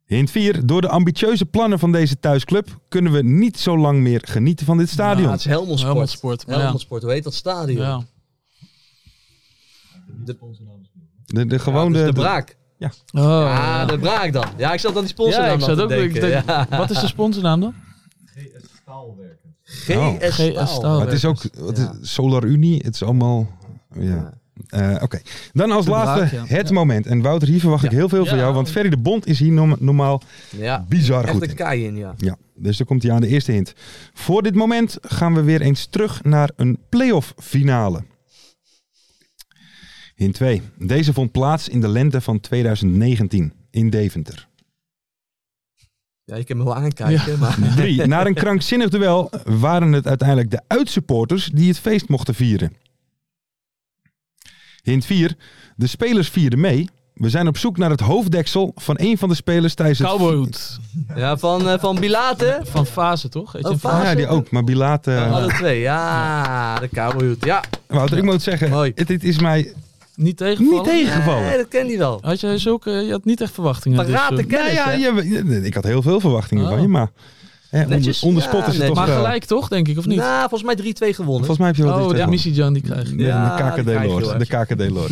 S4: Hint 4. Door de ambitieuze plannen van deze thuisclub kunnen we niet zo lang meer genieten van dit stadion.
S5: Ja, het is Helmond Sport.
S6: Helmond Sport, maar ja.
S5: Helmond Sport, hoe heet dat stadion?
S6: Ja.
S5: De,
S4: de, de,
S5: ja,
S4: gewoon
S5: dus
S4: de,
S5: de braak.
S6: Oh,
S5: Ah,
S6: ja.
S5: de braak dan. Ja, ik zat aan die sponsor
S6: Ja,
S5: aan
S6: ik zat
S5: te
S6: ook. ik
S5: denken.
S6: denk,
S5: Ja.
S6: Wat is de sponsornaam dan?
S4: Oh.
S5: GS
S6: GS Staal.
S5: Staal.
S4: Maar het is ook het
S5: Ja.
S4: is Solar Unie. Het is allemaal... Ja. Eh, Oké. Dan als
S6: De
S4: laatste
S6: braak, ja.
S4: het
S6: Ja.
S4: moment. En Wouter, hier verwacht ik heel veel van jou. Want Ferry de Bond is hier nom- normaal
S5: Ja,
S4: bizar
S5: echt
S4: goed
S5: een
S4: in.
S5: kei in, ja.
S4: Ja, dus daar komt hij aan de eerste hint. Voor dit moment gaan we weer eens terug naar een playoff finale. Hint 2. Deze vond plaats in de lente van 2019 in Deventer.
S5: Ja, je kan me wel aankijken, maar...
S4: 3. Na een krankzinnig duel waren het uiteindelijk de uitsupporters die het feest mochten vieren. Hint 4. De spelers vierden mee. We zijn op zoek naar het hoofddeksel van een van de spelers tijdens het...
S6: Cowboyhoed.
S5: Ja, van, eh, van Bilate.
S6: Van Fase, toch? Heet je
S5: Oh,
S6: een
S5: Fase.
S4: Ah, ja, die ook, maar Bilate...
S5: Alle twee, ja. De kabelhoed, ja.
S4: Wouter, ik moet zeggen,
S5: Mooi.
S4: het, het is mij
S6: Niet tegengevallen?
S4: niet tegengevallen.
S5: Nee, dat kent hij wel.
S6: Had jij zulke, je had niet echt verwachtingen. dus,
S5: Paraat
S6: eh,
S5: de
S4: Nou
S5: kennis,
S4: ja,
S5: hè?
S4: je- je- ik had heel veel verwachtingen
S6: Oh.
S4: van je, maar hè, onder,
S5: Netjes.
S4: onder
S5: Ja,
S4: spot is het
S5: netjes.
S4: toch...
S6: maar
S4: eh,
S6: gelijk toch, denk ik, of niet?
S5: Nou, volgens mij 3-2 gewonnen.
S4: volgens mij heb je wel
S6: oh,
S4: dit
S6: de
S4: tegen-
S6: missie Jan die krijg je.
S4: Ja,
S5: Ja,
S4: de
S5: die krijg je
S4: KKD-lord.
S5: wel.
S4: De KKD-lord.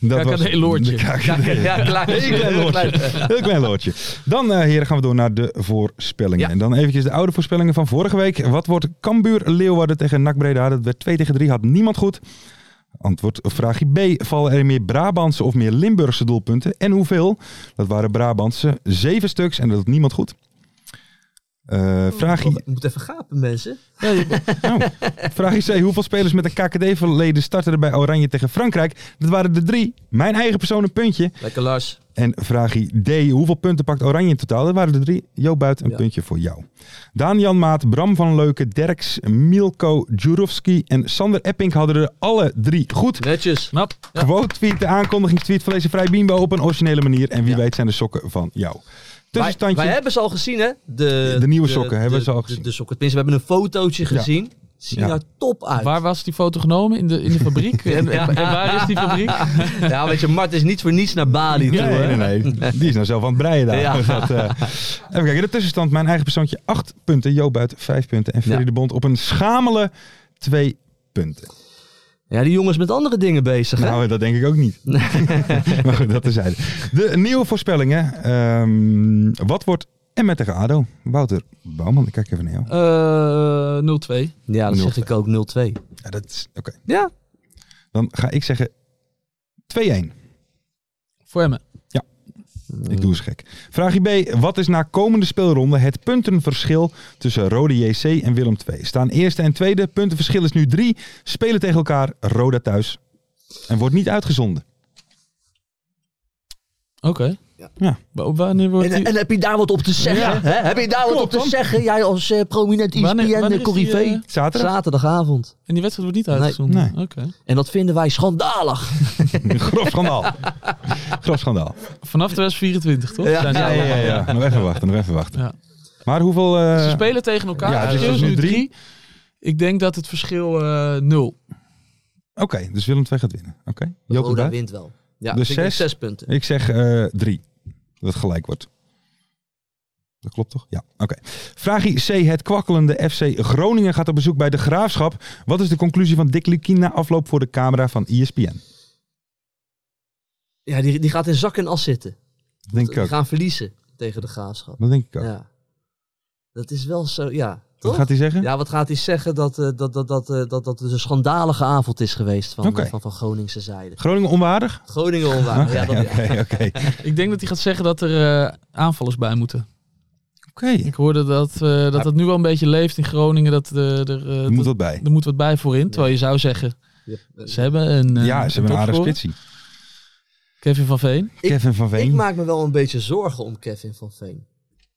S4: Dat was-
S6: KKD-loordje.
S4: de KKD.
S5: Ja, klaar.
S4: Heel klein loodje. Heel klein loodje. Dan, eh, heren, gaan we door naar de voorspellingen.
S5: Ja.
S4: En dan eventjes de oude voorspellingen van vorige week. Wat wordt Cambuur Leeuwarden tegen NAC Breda? Dat werd 2 tegen 3, had niemand goed. Antwoord op vraagje B. Vallen er meer Brabantse of meer Limburgse doelpunten? En hoeveel? Dat waren Brabantse zeven stuks en dat had niemand goed. Eh vraagje,
S5: Ik moet even gapen, mensen.
S4: nou, vraagje C. Hoeveel spelers met een KKD-verleden starten er bij Oranje tegen Frankrijk? Dat waren de drie. Mijn eigen persoon een puntje.
S5: Lekker Lars.
S4: En vraagie D. Hoeveel punten pakt Oranje in totaal? Dat waren er drie. Jo Buit, een
S5: Ja.
S4: puntje voor jou. Daan Jan Maat, Bram van Leuken, Derks, Milko Djurovski en Sander Epping hadden er alle drie goed.
S5: Netjes.
S6: Knap. Ja.
S4: Quote tweet, de aankondigingstweet van deze Vrij Bimbo op een originele manier. En wie weet zijn de sokken van jou.
S5: Wij,
S4: Tussenstandje.
S5: wij hebben ze al gezien, hè? De,
S4: De nieuwe sokken hebben
S5: de-
S4: ze al
S5: de-
S4: gezien.
S5: De, sokken. Tenminste, we hebben een fotootje gezien. Zien
S4: Ja.
S5: er top uit.
S6: Waar was die foto genomen? In de, in de fabriek? en, en- en waar is die fabriek? Eh,
S5: Ja, weet je, Mart is niet voor niets naar Bali toe,
S4: Nee,
S5: hè?
S4: nee, nee, nee. Die is nou zelf aan het breien daar.
S5: Ja.
S4: Dus dat, eh, even kijken, de tussenstand. Mijn eigen persoontje 8 punten. Jo Buit 5 punten. En Ferry
S5: Ja.
S4: de Bond op een schamele 2 punten.
S5: Ja, die jongens met andere dingen bezig, hè?
S4: Nou, dat denk ik ook niet. maar goed, dat terzijde. De nieuwe voorspellingen. Ehm, wat wordt Emma tegen ADO? Wouter Bouwman, ik kijk even naar jou.
S6: Eh 0-2.
S5: ja, dat
S4: 0-2.
S5: zeg ik ook, 0-2.
S4: Ja, dat is, oké.
S5: Ja.
S4: Dan ga ik zeggen 2-1.
S6: Voor Emmen.
S4: Ik doe eens gek. Vraagje B. Wat is na komende speelronde het puntenverschil tussen Rode JC en Willem II? Staan eerste en tweede. Puntenverschil is nu 3. Spelen tegen elkaar. Roda thuis. En wordt niet uitgezonden.
S6: Oké.
S4: Ja.
S6: Wa- Wanneer wordt
S5: En,
S6: die...
S5: en heb je daar wat op te zeggen?
S6: Ja.
S5: Hè? Heb je daar wat
S4: Klopt,
S5: op te
S4: man.
S5: zeggen? Jij als eh, prominent
S6: Wanneer- wanneer is die, eh,
S5: ISPN-corrivé.
S4: Zaterdag?
S5: Zaterdagavond.
S6: En die wedstrijd wordt niet
S5: Nee.
S6: uitgezonden?
S4: Nee.
S6: Oké.
S5: En dat vinden wij schandalig.
S4: Grof schandaal. Grof schandaal.
S6: Vanaf 2024, toch?
S5: Ja.
S6: Zijn die
S4: Ja, ja,
S6: allemaal-
S4: ja, ja. Nog even wachten, nog even wawachten.
S6: Ja.
S4: Maar hoeveel... eh,
S6: Ze spelen tegen elkaar.
S4: ja,
S6: het
S4: dus
S6: verschil is
S4: dat is
S6: nu
S4: nu
S6: 3. Ik denk dat het verschil eh 0.
S4: Oké, dus Willem II gaat winnen. Oké. Joop de
S5: Roda
S4: Bruin?
S5: wint wel. Ja,
S4: Dus
S5: vind ik
S4: zes?
S5: zes punten.
S4: Ik zeg eh, drie. Dat het gelijk wordt. Dat klopt toch? Ja, oké. Vraagje C. Het kwakkelende FC Groningen gaat op bezoek bij de Graafschap. Wat is de conclusie van Dick Lukien na afloop voor de camera van E ESPN?
S5: Ja, die, die gaat in zak en as zitten.
S4: Dat denk ik
S5: Die
S4: ook.
S5: gaan verliezen tegen de graafschap.
S4: Dat denk ik ook.
S5: Ja. Dat is wel zo, ja.
S4: Wat
S5: Toch?
S4: gaat hij zeggen?
S5: Ja, wat gaat hij zeggen dat, eh, dat, dat, dat, eh, dat, dat het een schandalige avond is geweest van,
S4: Oké.
S5: van, van Groningse zijde?
S4: Groningen onwaardig?
S5: Groningen onwaar. ja, dat,
S4: Oké,
S5: ja.
S4: oké, oké.
S6: Ik denk dat hij gaat zeggen dat er eh, aanvallers bij moeten.
S4: Oké,
S6: Ik hoorde dat, eh, dat dat nu wel een beetje leeft in Groningen. Dat de, er, eh,
S4: er moet
S6: dat-
S4: wat bij.
S6: er moet wat bij voorin. Terwijl je zou zeggen, ze hebben een... eh,
S4: Ja, ze hebben een aardige
S6: topscorer.
S4: spitsie.
S6: Kevin van Veen.
S5: Ik-
S4: Kevin van
S5: Ik
S4: Veen.
S5: maak me wel een beetje zorgen om Kevin van Veen.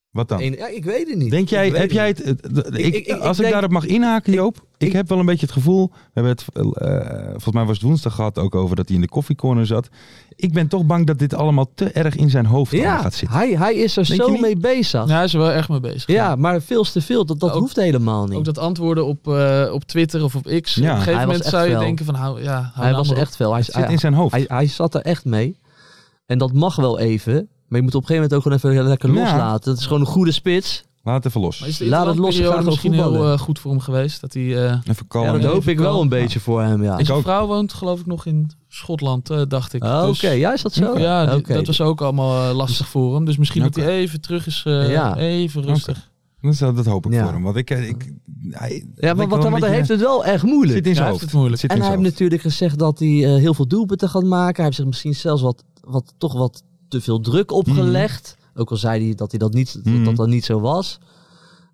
S4: Wat dan?
S5: Eén- ja, ik weet het niet.
S4: Denk jij,
S5: Ik weet
S4: heb jij
S5: niet.
S4: het... het- het-
S5: Ik-
S4: ik-
S5: ik- ik
S4: Als ik
S5: denk-
S4: daarop mag inhaken, Joop. ik heb wel een beetje het gevoel, we hebben het, eh, volgens mij was het woensdag gehad ook over dat hij in de koffiecorner zat. Ik ben toch bang dat dit allemaal te erg in zijn hoofd allemaal
S5: Ja,
S4: gaat zitten.
S5: hij, hij is er
S4: Denk
S5: zo
S4: je niet?
S5: mee bezig.
S6: Ja, hij is er wel erg mee bezig.
S5: Ja, maar veel te veel. Dat, dat
S6: Ook-
S5: hoeft helemaal
S6: Ook
S5: niet.
S6: dat antwoorden op, eh, op Twitter of op X. op
S4: Ja.
S6: een
S5: Hij
S6: gegeven
S5: was
S6: moment
S5: echt
S6: zou je
S5: fel.
S6: denken van hou, ja, hou
S5: hij
S6: nou
S5: was
S6: maar op.
S5: echt veel. Hij,
S4: Het zit
S5: hij,
S4: in zijn hoofd.
S5: hij, hij zat er echt mee. En dat mag wel even. Maar je moet op een gegeven moment ook gewoon even lekker
S4: Ja.
S5: loslaten. Het is gewoon een goede spits.
S4: Laat even los.
S6: Maar is de
S5: Laat het los,
S6: interlandperiode
S5: graag wel
S6: misschien heel
S5: voetballen.
S6: eh, goed voor hem geweest. Dat hij, eh
S4: Even
S5: Ja,
S4: kalm.
S5: dat
S6: even
S5: hoop ik wel
S6: kalm.
S5: een beetje voor hem, ja.
S6: en zijn
S4: ook.
S6: vrouw woont geloof ik nog in Schotland, eh, dacht ik.
S5: Oh, Oké,
S6: Dus-
S5: ja, is dat zo? Ah,
S6: Ja, die-
S5: Oké.
S6: dat was ook allemaal eh, lastig voor hem. Dus misschien
S4: Oké.
S6: dat hij even terug is. eh,
S5: Ja.
S6: Even rustig.
S4: Dus dat, dat hoop ik
S5: Ja.
S4: voor hem. Want ik, eh, ik, hij,
S5: ja, maar want, want hij heeft het wel echt
S4: het
S5: moeilijk.
S4: eh, zit in
S6: Ja, hij
S4: zijn
S6: heeft
S4: hoofd.
S6: het moeilijk.
S4: zit
S5: En
S4: in
S5: hij
S4: zijn
S5: heeft
S4: hoofd.
S5: natuurlijk gezegd dat hij eh, heel veel doelpunten gaat maken. Hij heeft zich misschien zelfs wat, wat, toch wat te veel druk opgelegd. Ook al zei hij dat hij dat niet,
S4: Mhm.
S5: dat, dat niet zo was.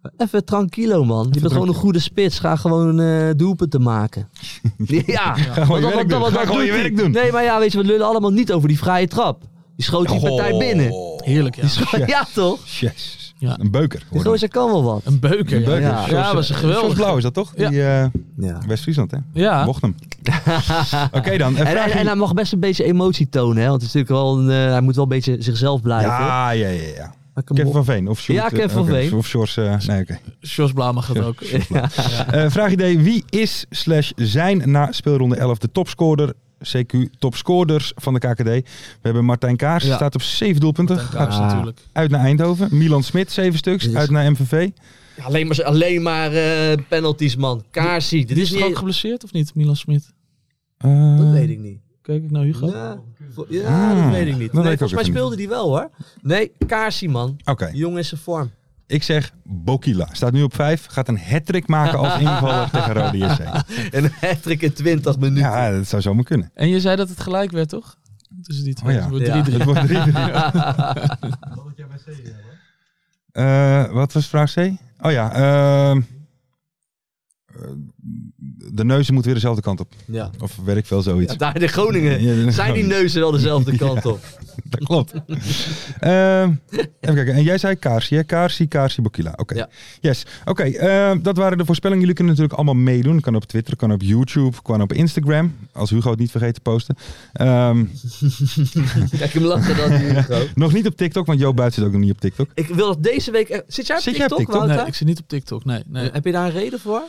S5: Maar Even tranquilo, man. Je bent gewoon een goede spits. Ga gewoon eh, doelpunten maken. ja,
S4: gewoon je werk doen. Ga gewoon
S5: doet
S4: je
S5: hij.
S4: werk doen.
S5: Nee, maar ja, weet je, we lullen allemaal niet over die vrije trap. Die schoot die partij binnen.
S6: Heerlijk, ja.
S4: Oh. Ja.
S5: ja, toch?
S4: Jezus.
S6: Ja.
S4: Een beuker.
S5: Die gozer kan wel wat.
S6: Een beuker.
S4: Een beuker.
S6: Ja,
S5: Ja.
S6: Ja, was een
S4: Zoals
S6: geweldig.
S4: blauw is dat toch?
S6: Ja.
S4: Die eh,
S5: Ja.
S4: West-Friesland, hè?
S6: Ja.
S4: Mocht hem. Oké dan. En
S5: En, en,
S4: vraag
S5: en hij
S4: je...
S5: mag best een beetje emotie tonen, hè? Want het is natuurlijk wel een, eh, hij moet wel een beetje zichzelf blijven.
S4: Ja, ja, ja, ja.
S5: Maar kom
S4: Kevin
S5: op.
S4: van Veen of Sjoerd,
S5: Ja, Kevin
S4: eh,
S5: van
S4: oké,
S5: Veen.
S4: Of Sjors, eh, nee, oké.
S6: Jos Blauw mag dat ook.
S4: Eh, vraag idee. Wie is slash zijn na speelronde 11 de topscorer, CQ topscorers van de KKD? We hebben Martijn Kaars,
S5: Ja.
S4: staat op 7 doelpunten.
S6: Dank Kaars
S5: Ah.
S6: natuurlijk.
S4: Uit naar Eindhoven. Milan Smit, 7 stuks.
S5: Yes.
S4: Uit naar MVV.
S5: Ja, Alleen maar, alleen maar eh, penalties, man. Kaarsie. Dit
S6: Die is
S5: is
S6: toch ook
S5: niet... e-
S6: geblesseerd of niet, Milan Smit?
S4: Eh,
S5: Dat weet ik niet.
S6: Kijk ik naar Hugo?
S5: Ja, vo- ja, dat
S4: Ah,
S5: weet ik
S4: dat weet ik
S5: niet.
S4: ook
S5: Nee, volgens mij
S4: even niet.
S5: speelde die wel, hoor. Nee, Kaarsie, man.
S4: Oké,
S5: Jong is zijn vorm.
S4: ik zeg Bokila. Staat nu op 5. Gaat een hat maken als invaller tegen Rode JC.
S5: En een hat-trick in 20 minuten.
S4: Ja, dat zou zomaar kunnen.
S6: En je zei dat het gelijk werd, toch? Tussen die twee.
S4: Oh
S6: Het
S4: ja.
S6: wordt
S5: Ja.
S6: 3-3.
S4: Het wordt 3-3. Eh, wat was vraag C? Oh ja, ehm, eh, de neuzen moeten weer dezelfde kant op.
S5: Ja.
S4: Of weet ik veel zoiets.
S5: Ja, daar de Groningen.
S4: Ja, de
S5: Zijn die
S4: Groningen.
S5: neuzen wel dezelfde kant op?
S4: Dat klopt. Ehm, even kijken. En jij zei Kaarsie, hè? Kaarsie, Kaarsie, Bokila. Oké.
S5: Ja.
S4: Yes. Oké, ehm, dat waren de voorspellingen. Jullie kunnen natuurlijk allemaal meedoen. Kan op Twitter, kan op YouTube, kan op Instagram. Als Hugo het niet vergeet te posten. Ehm,
S5: Kijk hem lachen dan, Hugo.
S4: nog niet op TikTok, want Jo Buit zit ook nog niet op TikTok.
S5: Ik wil dat deze week... eh, Zit jij op
S4: Zit jij op
S5: TikTok,
S4: TikTok?
S5: Wouter?
S6: Nee, ik zit niet op TikTok. Nee, nee.
S5: Heb je daar een reden voor?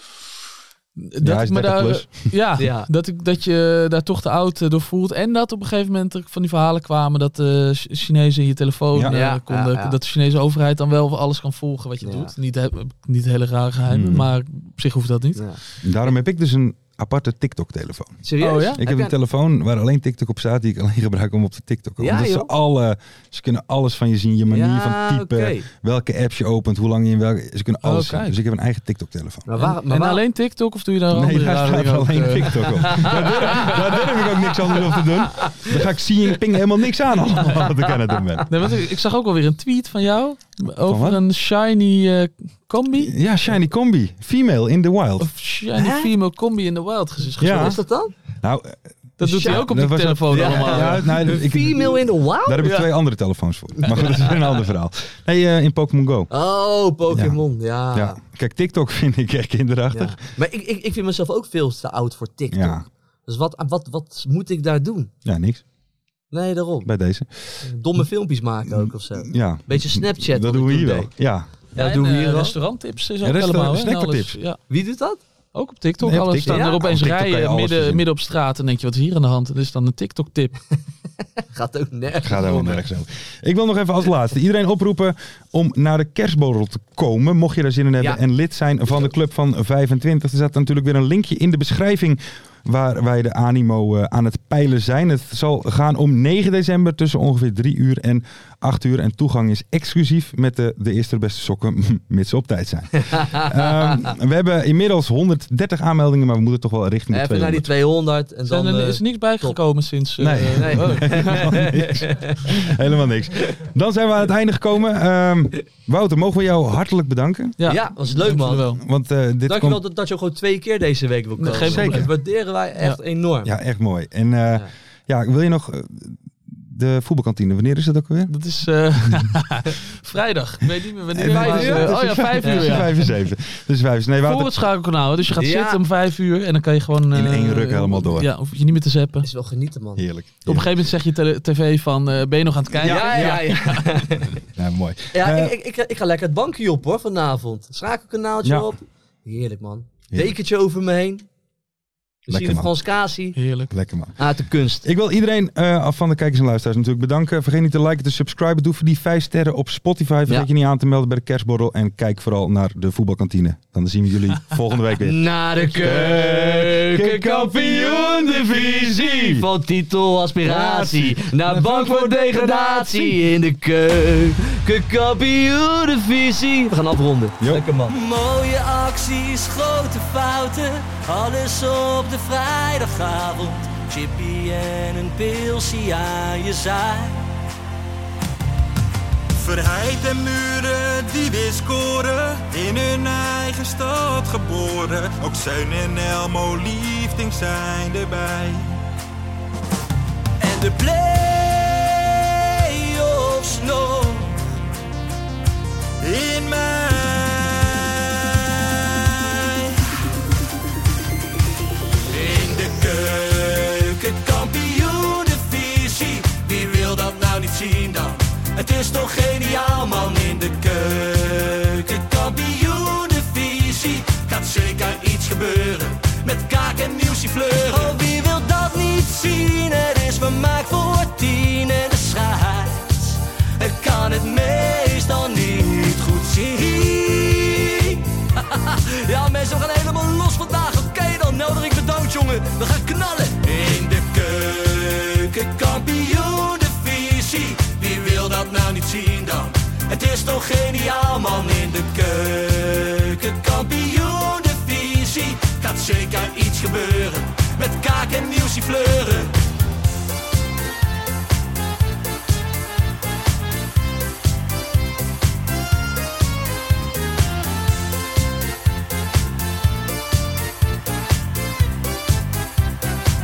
S6: Dat
S4: hij is
S6: ik me
S4: 30
S6: daar,
S4: plus.
S6: Ja,
S5: Ja.
S6: Dat, ik, dat je daar toch te oud eh, door voelt. En dat op een gegeven moment er van die verhalen kwamen dat de Ch- Chinezen in je telefoon
S4: Ja.
S6: eh,
S5: Ja,
S6: konden.
S5: ja, ja.
S6: Dat de Chinese overheid dan wel alles kan volgen wat je
S5: Ja.
S6: doet. Niet, he- niet hele rare geheimen,
S4: Hmm.
S6: maar op zich hoeft dat niet.
S5: Ja.
S4: Daarom heb ik dus een aparte TikTok-telefoon.
S5: Serieus?
S6: Oh ja?
S4: Ik
S5: Heb
S4: heb
S5: jij-
S4: een telefoon waar alleen TikTok op staat, die ik alleen gebruik om op de TikTok.
S5: Ja,
S4: omdat ze
S5: joh.
S4: alle, ze kunnen alles van je zien, je manier van typen,
S5: oké.
S4: welke apps je opent, hoe lang je in welke, ze kunnen
S6: Oh,
S4: alles zien.
S6: kijk.
S4: Dus ik heb een eigen TikTok-telefoon.
S5: Maar waar,
S6: en
S5: maar waar-
S6: alleen TikTok of doe je daar
S4: Nee,
S6: andere
S4: daar
S6: rare
S4: staat
S6: dingen ook,
S4: alleen
S6: eh?
S4: TikTok op. daar, durf, daar durf ik ook niks anders op te doen. Dan ga ik Xi Ping helemaal niks aan allemaal wat ik aan het doen ben.
S6: Nee, want ik, ik zag ook alweer een tweet van jou over
S4: wat?
S6: een shiny eh, combi.
S4: Ja, Shiny Combi. Female in the wild.
S6: Of shiny
S5: Hè?
S6: female combi in the wild gezien.
S4: Ja.
S5: Wat is dat dan?
S4: Nou,
S6: Dat doet hij
S4: ja,
S6: ook op
S4: dat
S6: die
S4: was-
S6: telefoon
S5: Ja.
S6: allemaal.
S4: ja, nou, ik-
S5: Female in the wild?
S4: daar heb ik
S6: Ja.
S4: twee andere telefoons voor. Maar goed, dat is weer een ander verhaal. Nee, eh, in Pokémon Go.
S5: Oh, Pokémon, ja.
S4: Ja. Kijk, TikTok vind ik echt kinderachtig.
S5: Ah. Ja. Maar ik, ik, ik vind mezelf ook veel te oud voor TikTok.
S4: Ja.
S5: Dus wat, wat, wat moet ik daar doen?
S4: ja niks.
S5: Nee, daarom.
S4: Bij deze.
S5: Domme filmpjes maken ook of zo.
S4: Ja.
S5: Beetje Eh, Snapchat.
S4: Dat
S5: wat
S4: doen
S5: ik
S4: we
S5: toen
S4: hier wel.
S5: deed.
S4: Ja.
S5: Ja, dat doen we
S6: en,
S5: hier
S6: eh,
S5: wel.
S6: Restauranttips is
S4: Ja,
S6: ook
S4: restaurant-
S6: allemaal. hè, en
S4: snackertips.
S6: alles. Ja,
S5: Wie doet dat?
S6: ook op Tiktok.
S4: Nee, op
S6: alles
S4: TikTok.
S6: staan
S5: Ja,
S6: er opeens
S4: op TikTok kan je
S6: rijen
S4: alles
S6: midden,
S4: verzinnen.
S6: midden op straat. En denk je, wat is hier aan de hand? Dat is dan een TikTok-tip.
S5: Gaat ook nergens.
S4: Gaat helemaal
S5: om.
S4: nergens over. Ik wil nog even als laatste iedereen oproepen om naar de kerstborrel te komen. Mocht je daar zin in hebben
S5: Ja.
S4: en lid zijn van de club van 25. Er staat natuurlijk weer een linkje in de beschrijving waar wij de animo eh, aan het peilen zijn. Het zal gaan om 9 december tussen ongeveer 3 uur en 8 uur. En toegang is exclusief met de, de eerste de beste sokken, mits ze op tijd zijn. Ehm, we hebben inmiddels 130 aanmeldingen, maar we moeten toch wel richting de
S5: Even naar die
S4: 200.
S5: 200 en
S6: Zijn
S5: dan...
S6: er
S5: eh,
S6: is niks bijgekomen sinds... eh,
S4: Nee.
S6: eh,
S5: Nee.
S6: oh.
S4: Helemaal niks. Helemaal niks. Dan zijn we aan het einde gekomen. Ehm, Wouter, mogen we jou hartelijk bedanken?
S6: Ja,
S5: Ja, was leuk
S6: Dank jullie
S5: man.
S6: wel.
S4: Want eh, dit
S5: Dankjewel
S4: komt...
S5: dat, dat je ook gewoon twee keer deze week wil komen.
S6: geen
S4: probleem.
S5: Dat waarderen wij echt enorm.
S4: Ja, echt mooi. En eh, ja. wil je nog eh, de voetbalkantine, wanneer is dat ook alweer?
S6: Dat is eh, vrijdag. Ik weet niet meer wanneer. maar, eh, oh ja, vijf uur.
S4: Dus
S6: Ja.
S4: vijf uur zeven. Dus vijf uur. Nee, we
S6: Voor
S4: hadden
S6: het schakelkanaal. hè. Dus je gaat
S8: Ja.
S6: zitten om vijf uur en dan kan je gewoon...
S4: In
S6: eh,
S4: één ruk helemaal door.
S6: Ja, hoef je niet meer te zappen.
S8: Is wel genieten, man.
S4: heerlijk.
S6: Op een gegeven moment zeg je tele- tv van, eh, ben je nog aan het kijken?
S4: Ja, mooi.
S8: Ja,
S4: Eh,
S8: ik, ik, ik, ik ga lekker het bankje op hoor vanavond. Schakelkanaaltje
S4: Ja.
S8: op. Heerlijk man.
S4: Heerlijk.
S8: Dekentje over me heen. Misschien
S4: man.
S8: van Frans Kasi.
S6: Heerlijk.
S4: Lekker man.
S8: Ah, de kunst.
S4: Ik wil iedereen eh, af van de kijkers en luisteraars natuurlijk bedanken. Vergeet niet te liken, te subscriben. Doe voor die vijf sterren op Spotify. Vergeet
S8: Ja.
S4: je niet aan te melden bij de kerstborrel. En kijk vooral naar de voetbalkantine. Dan zien we jullie volgende week weer.
S8: Naar de keukenkampioen-divisie. Van titel aspiratie naar bank voor degradatie. In de keukenkampioen-divisie. We gaan afronden.
S4: Jo.
S8: Lekker man.
S5: Mooie acties, grote fouten, alles op de vrijdagavond. Chippy en een pilsie aan je zaai.
S3: Verheid en muren die weer scoren, in hun eigen stad geboren. Ook Zijn en Elmo liefding zijn erbij.
S5: En de play-offs nog
S3: In mij.
S5: in de keuken, kampioen divisie. Wie wil dat nou niet zien dan? Het is toch geniaal man in de keuken, kampioen divisie. Gaat zeker iets gebeuren met kaak en nieuwsie fleuren. Oh wie wil dat niet zien? Het is vermaakt voor tien en de scheids. Ik kan het meestal niet goed zien. Ja, mensen, we gaan helemaal los vandaag. Oké, dan nodig ik bedankt, jongen. We gaan knallen. In de keuken, kampioen de visie. Wie wil dat nou niet zien dan? Het is toch geniaal, man. In de keuken, kampioen de visie. Gaat zeker iets gebeuren. Met kaak en nieuwsie fleuren.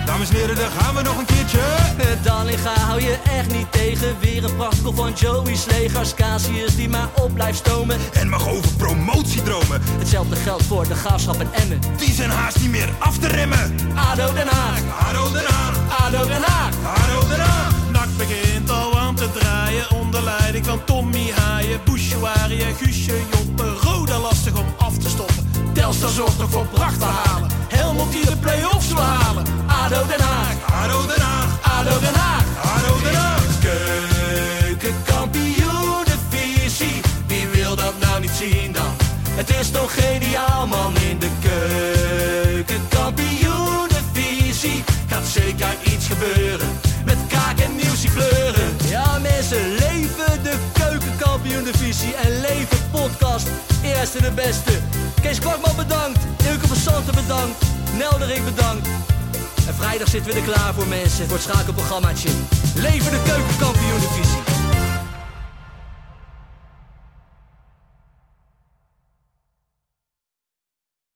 S3: Dames en heren, daar gaan we nog een keertje.
S5: Eh, Dallinga hou je echt niet tegen. Weer een prachtkel van Joey's legers. Casius die maar op blijft stomen.
S3: En mag over promotiedromen,
S5: Hetzelfde geldt voor de graafschap en Emmen.
S3: die zijn haast niet meer af te remmen.
S5: ADO Den Haag,
S3: Haro eraan,
S5: ADO Den Haag.
S3: haro eraan.
S5: Nak begint al aan te draaien onder leiding van Tommy Haaien, Bouchouari en Guusje Joppen. Roda lastig om af te stoppen. Telstar zorgt nog voor pracht te halen. Helmond die de play-offs wil halen. ADO Den Haag, ADO Den Haag, ADO Den Haag, ADO Den Haag. Keukenkampioen de visie, wie wil dat nou niet zien dan? Het is toch geniaal man in de keukenkampioen de visie. Gaat zeker iets gebeuren, met kaak en nieuwsie kleuren. Ja mensen, leven de keukenkampioen divisie en leven podcast. Eerste de beste. Kees Kwakman bedankt, Ilke van Santen bedankt, Nelderik bedankt. En vrijdag zitten we er klaar voor mensen, voor het schakelprogrammaatje. Leven de keuken.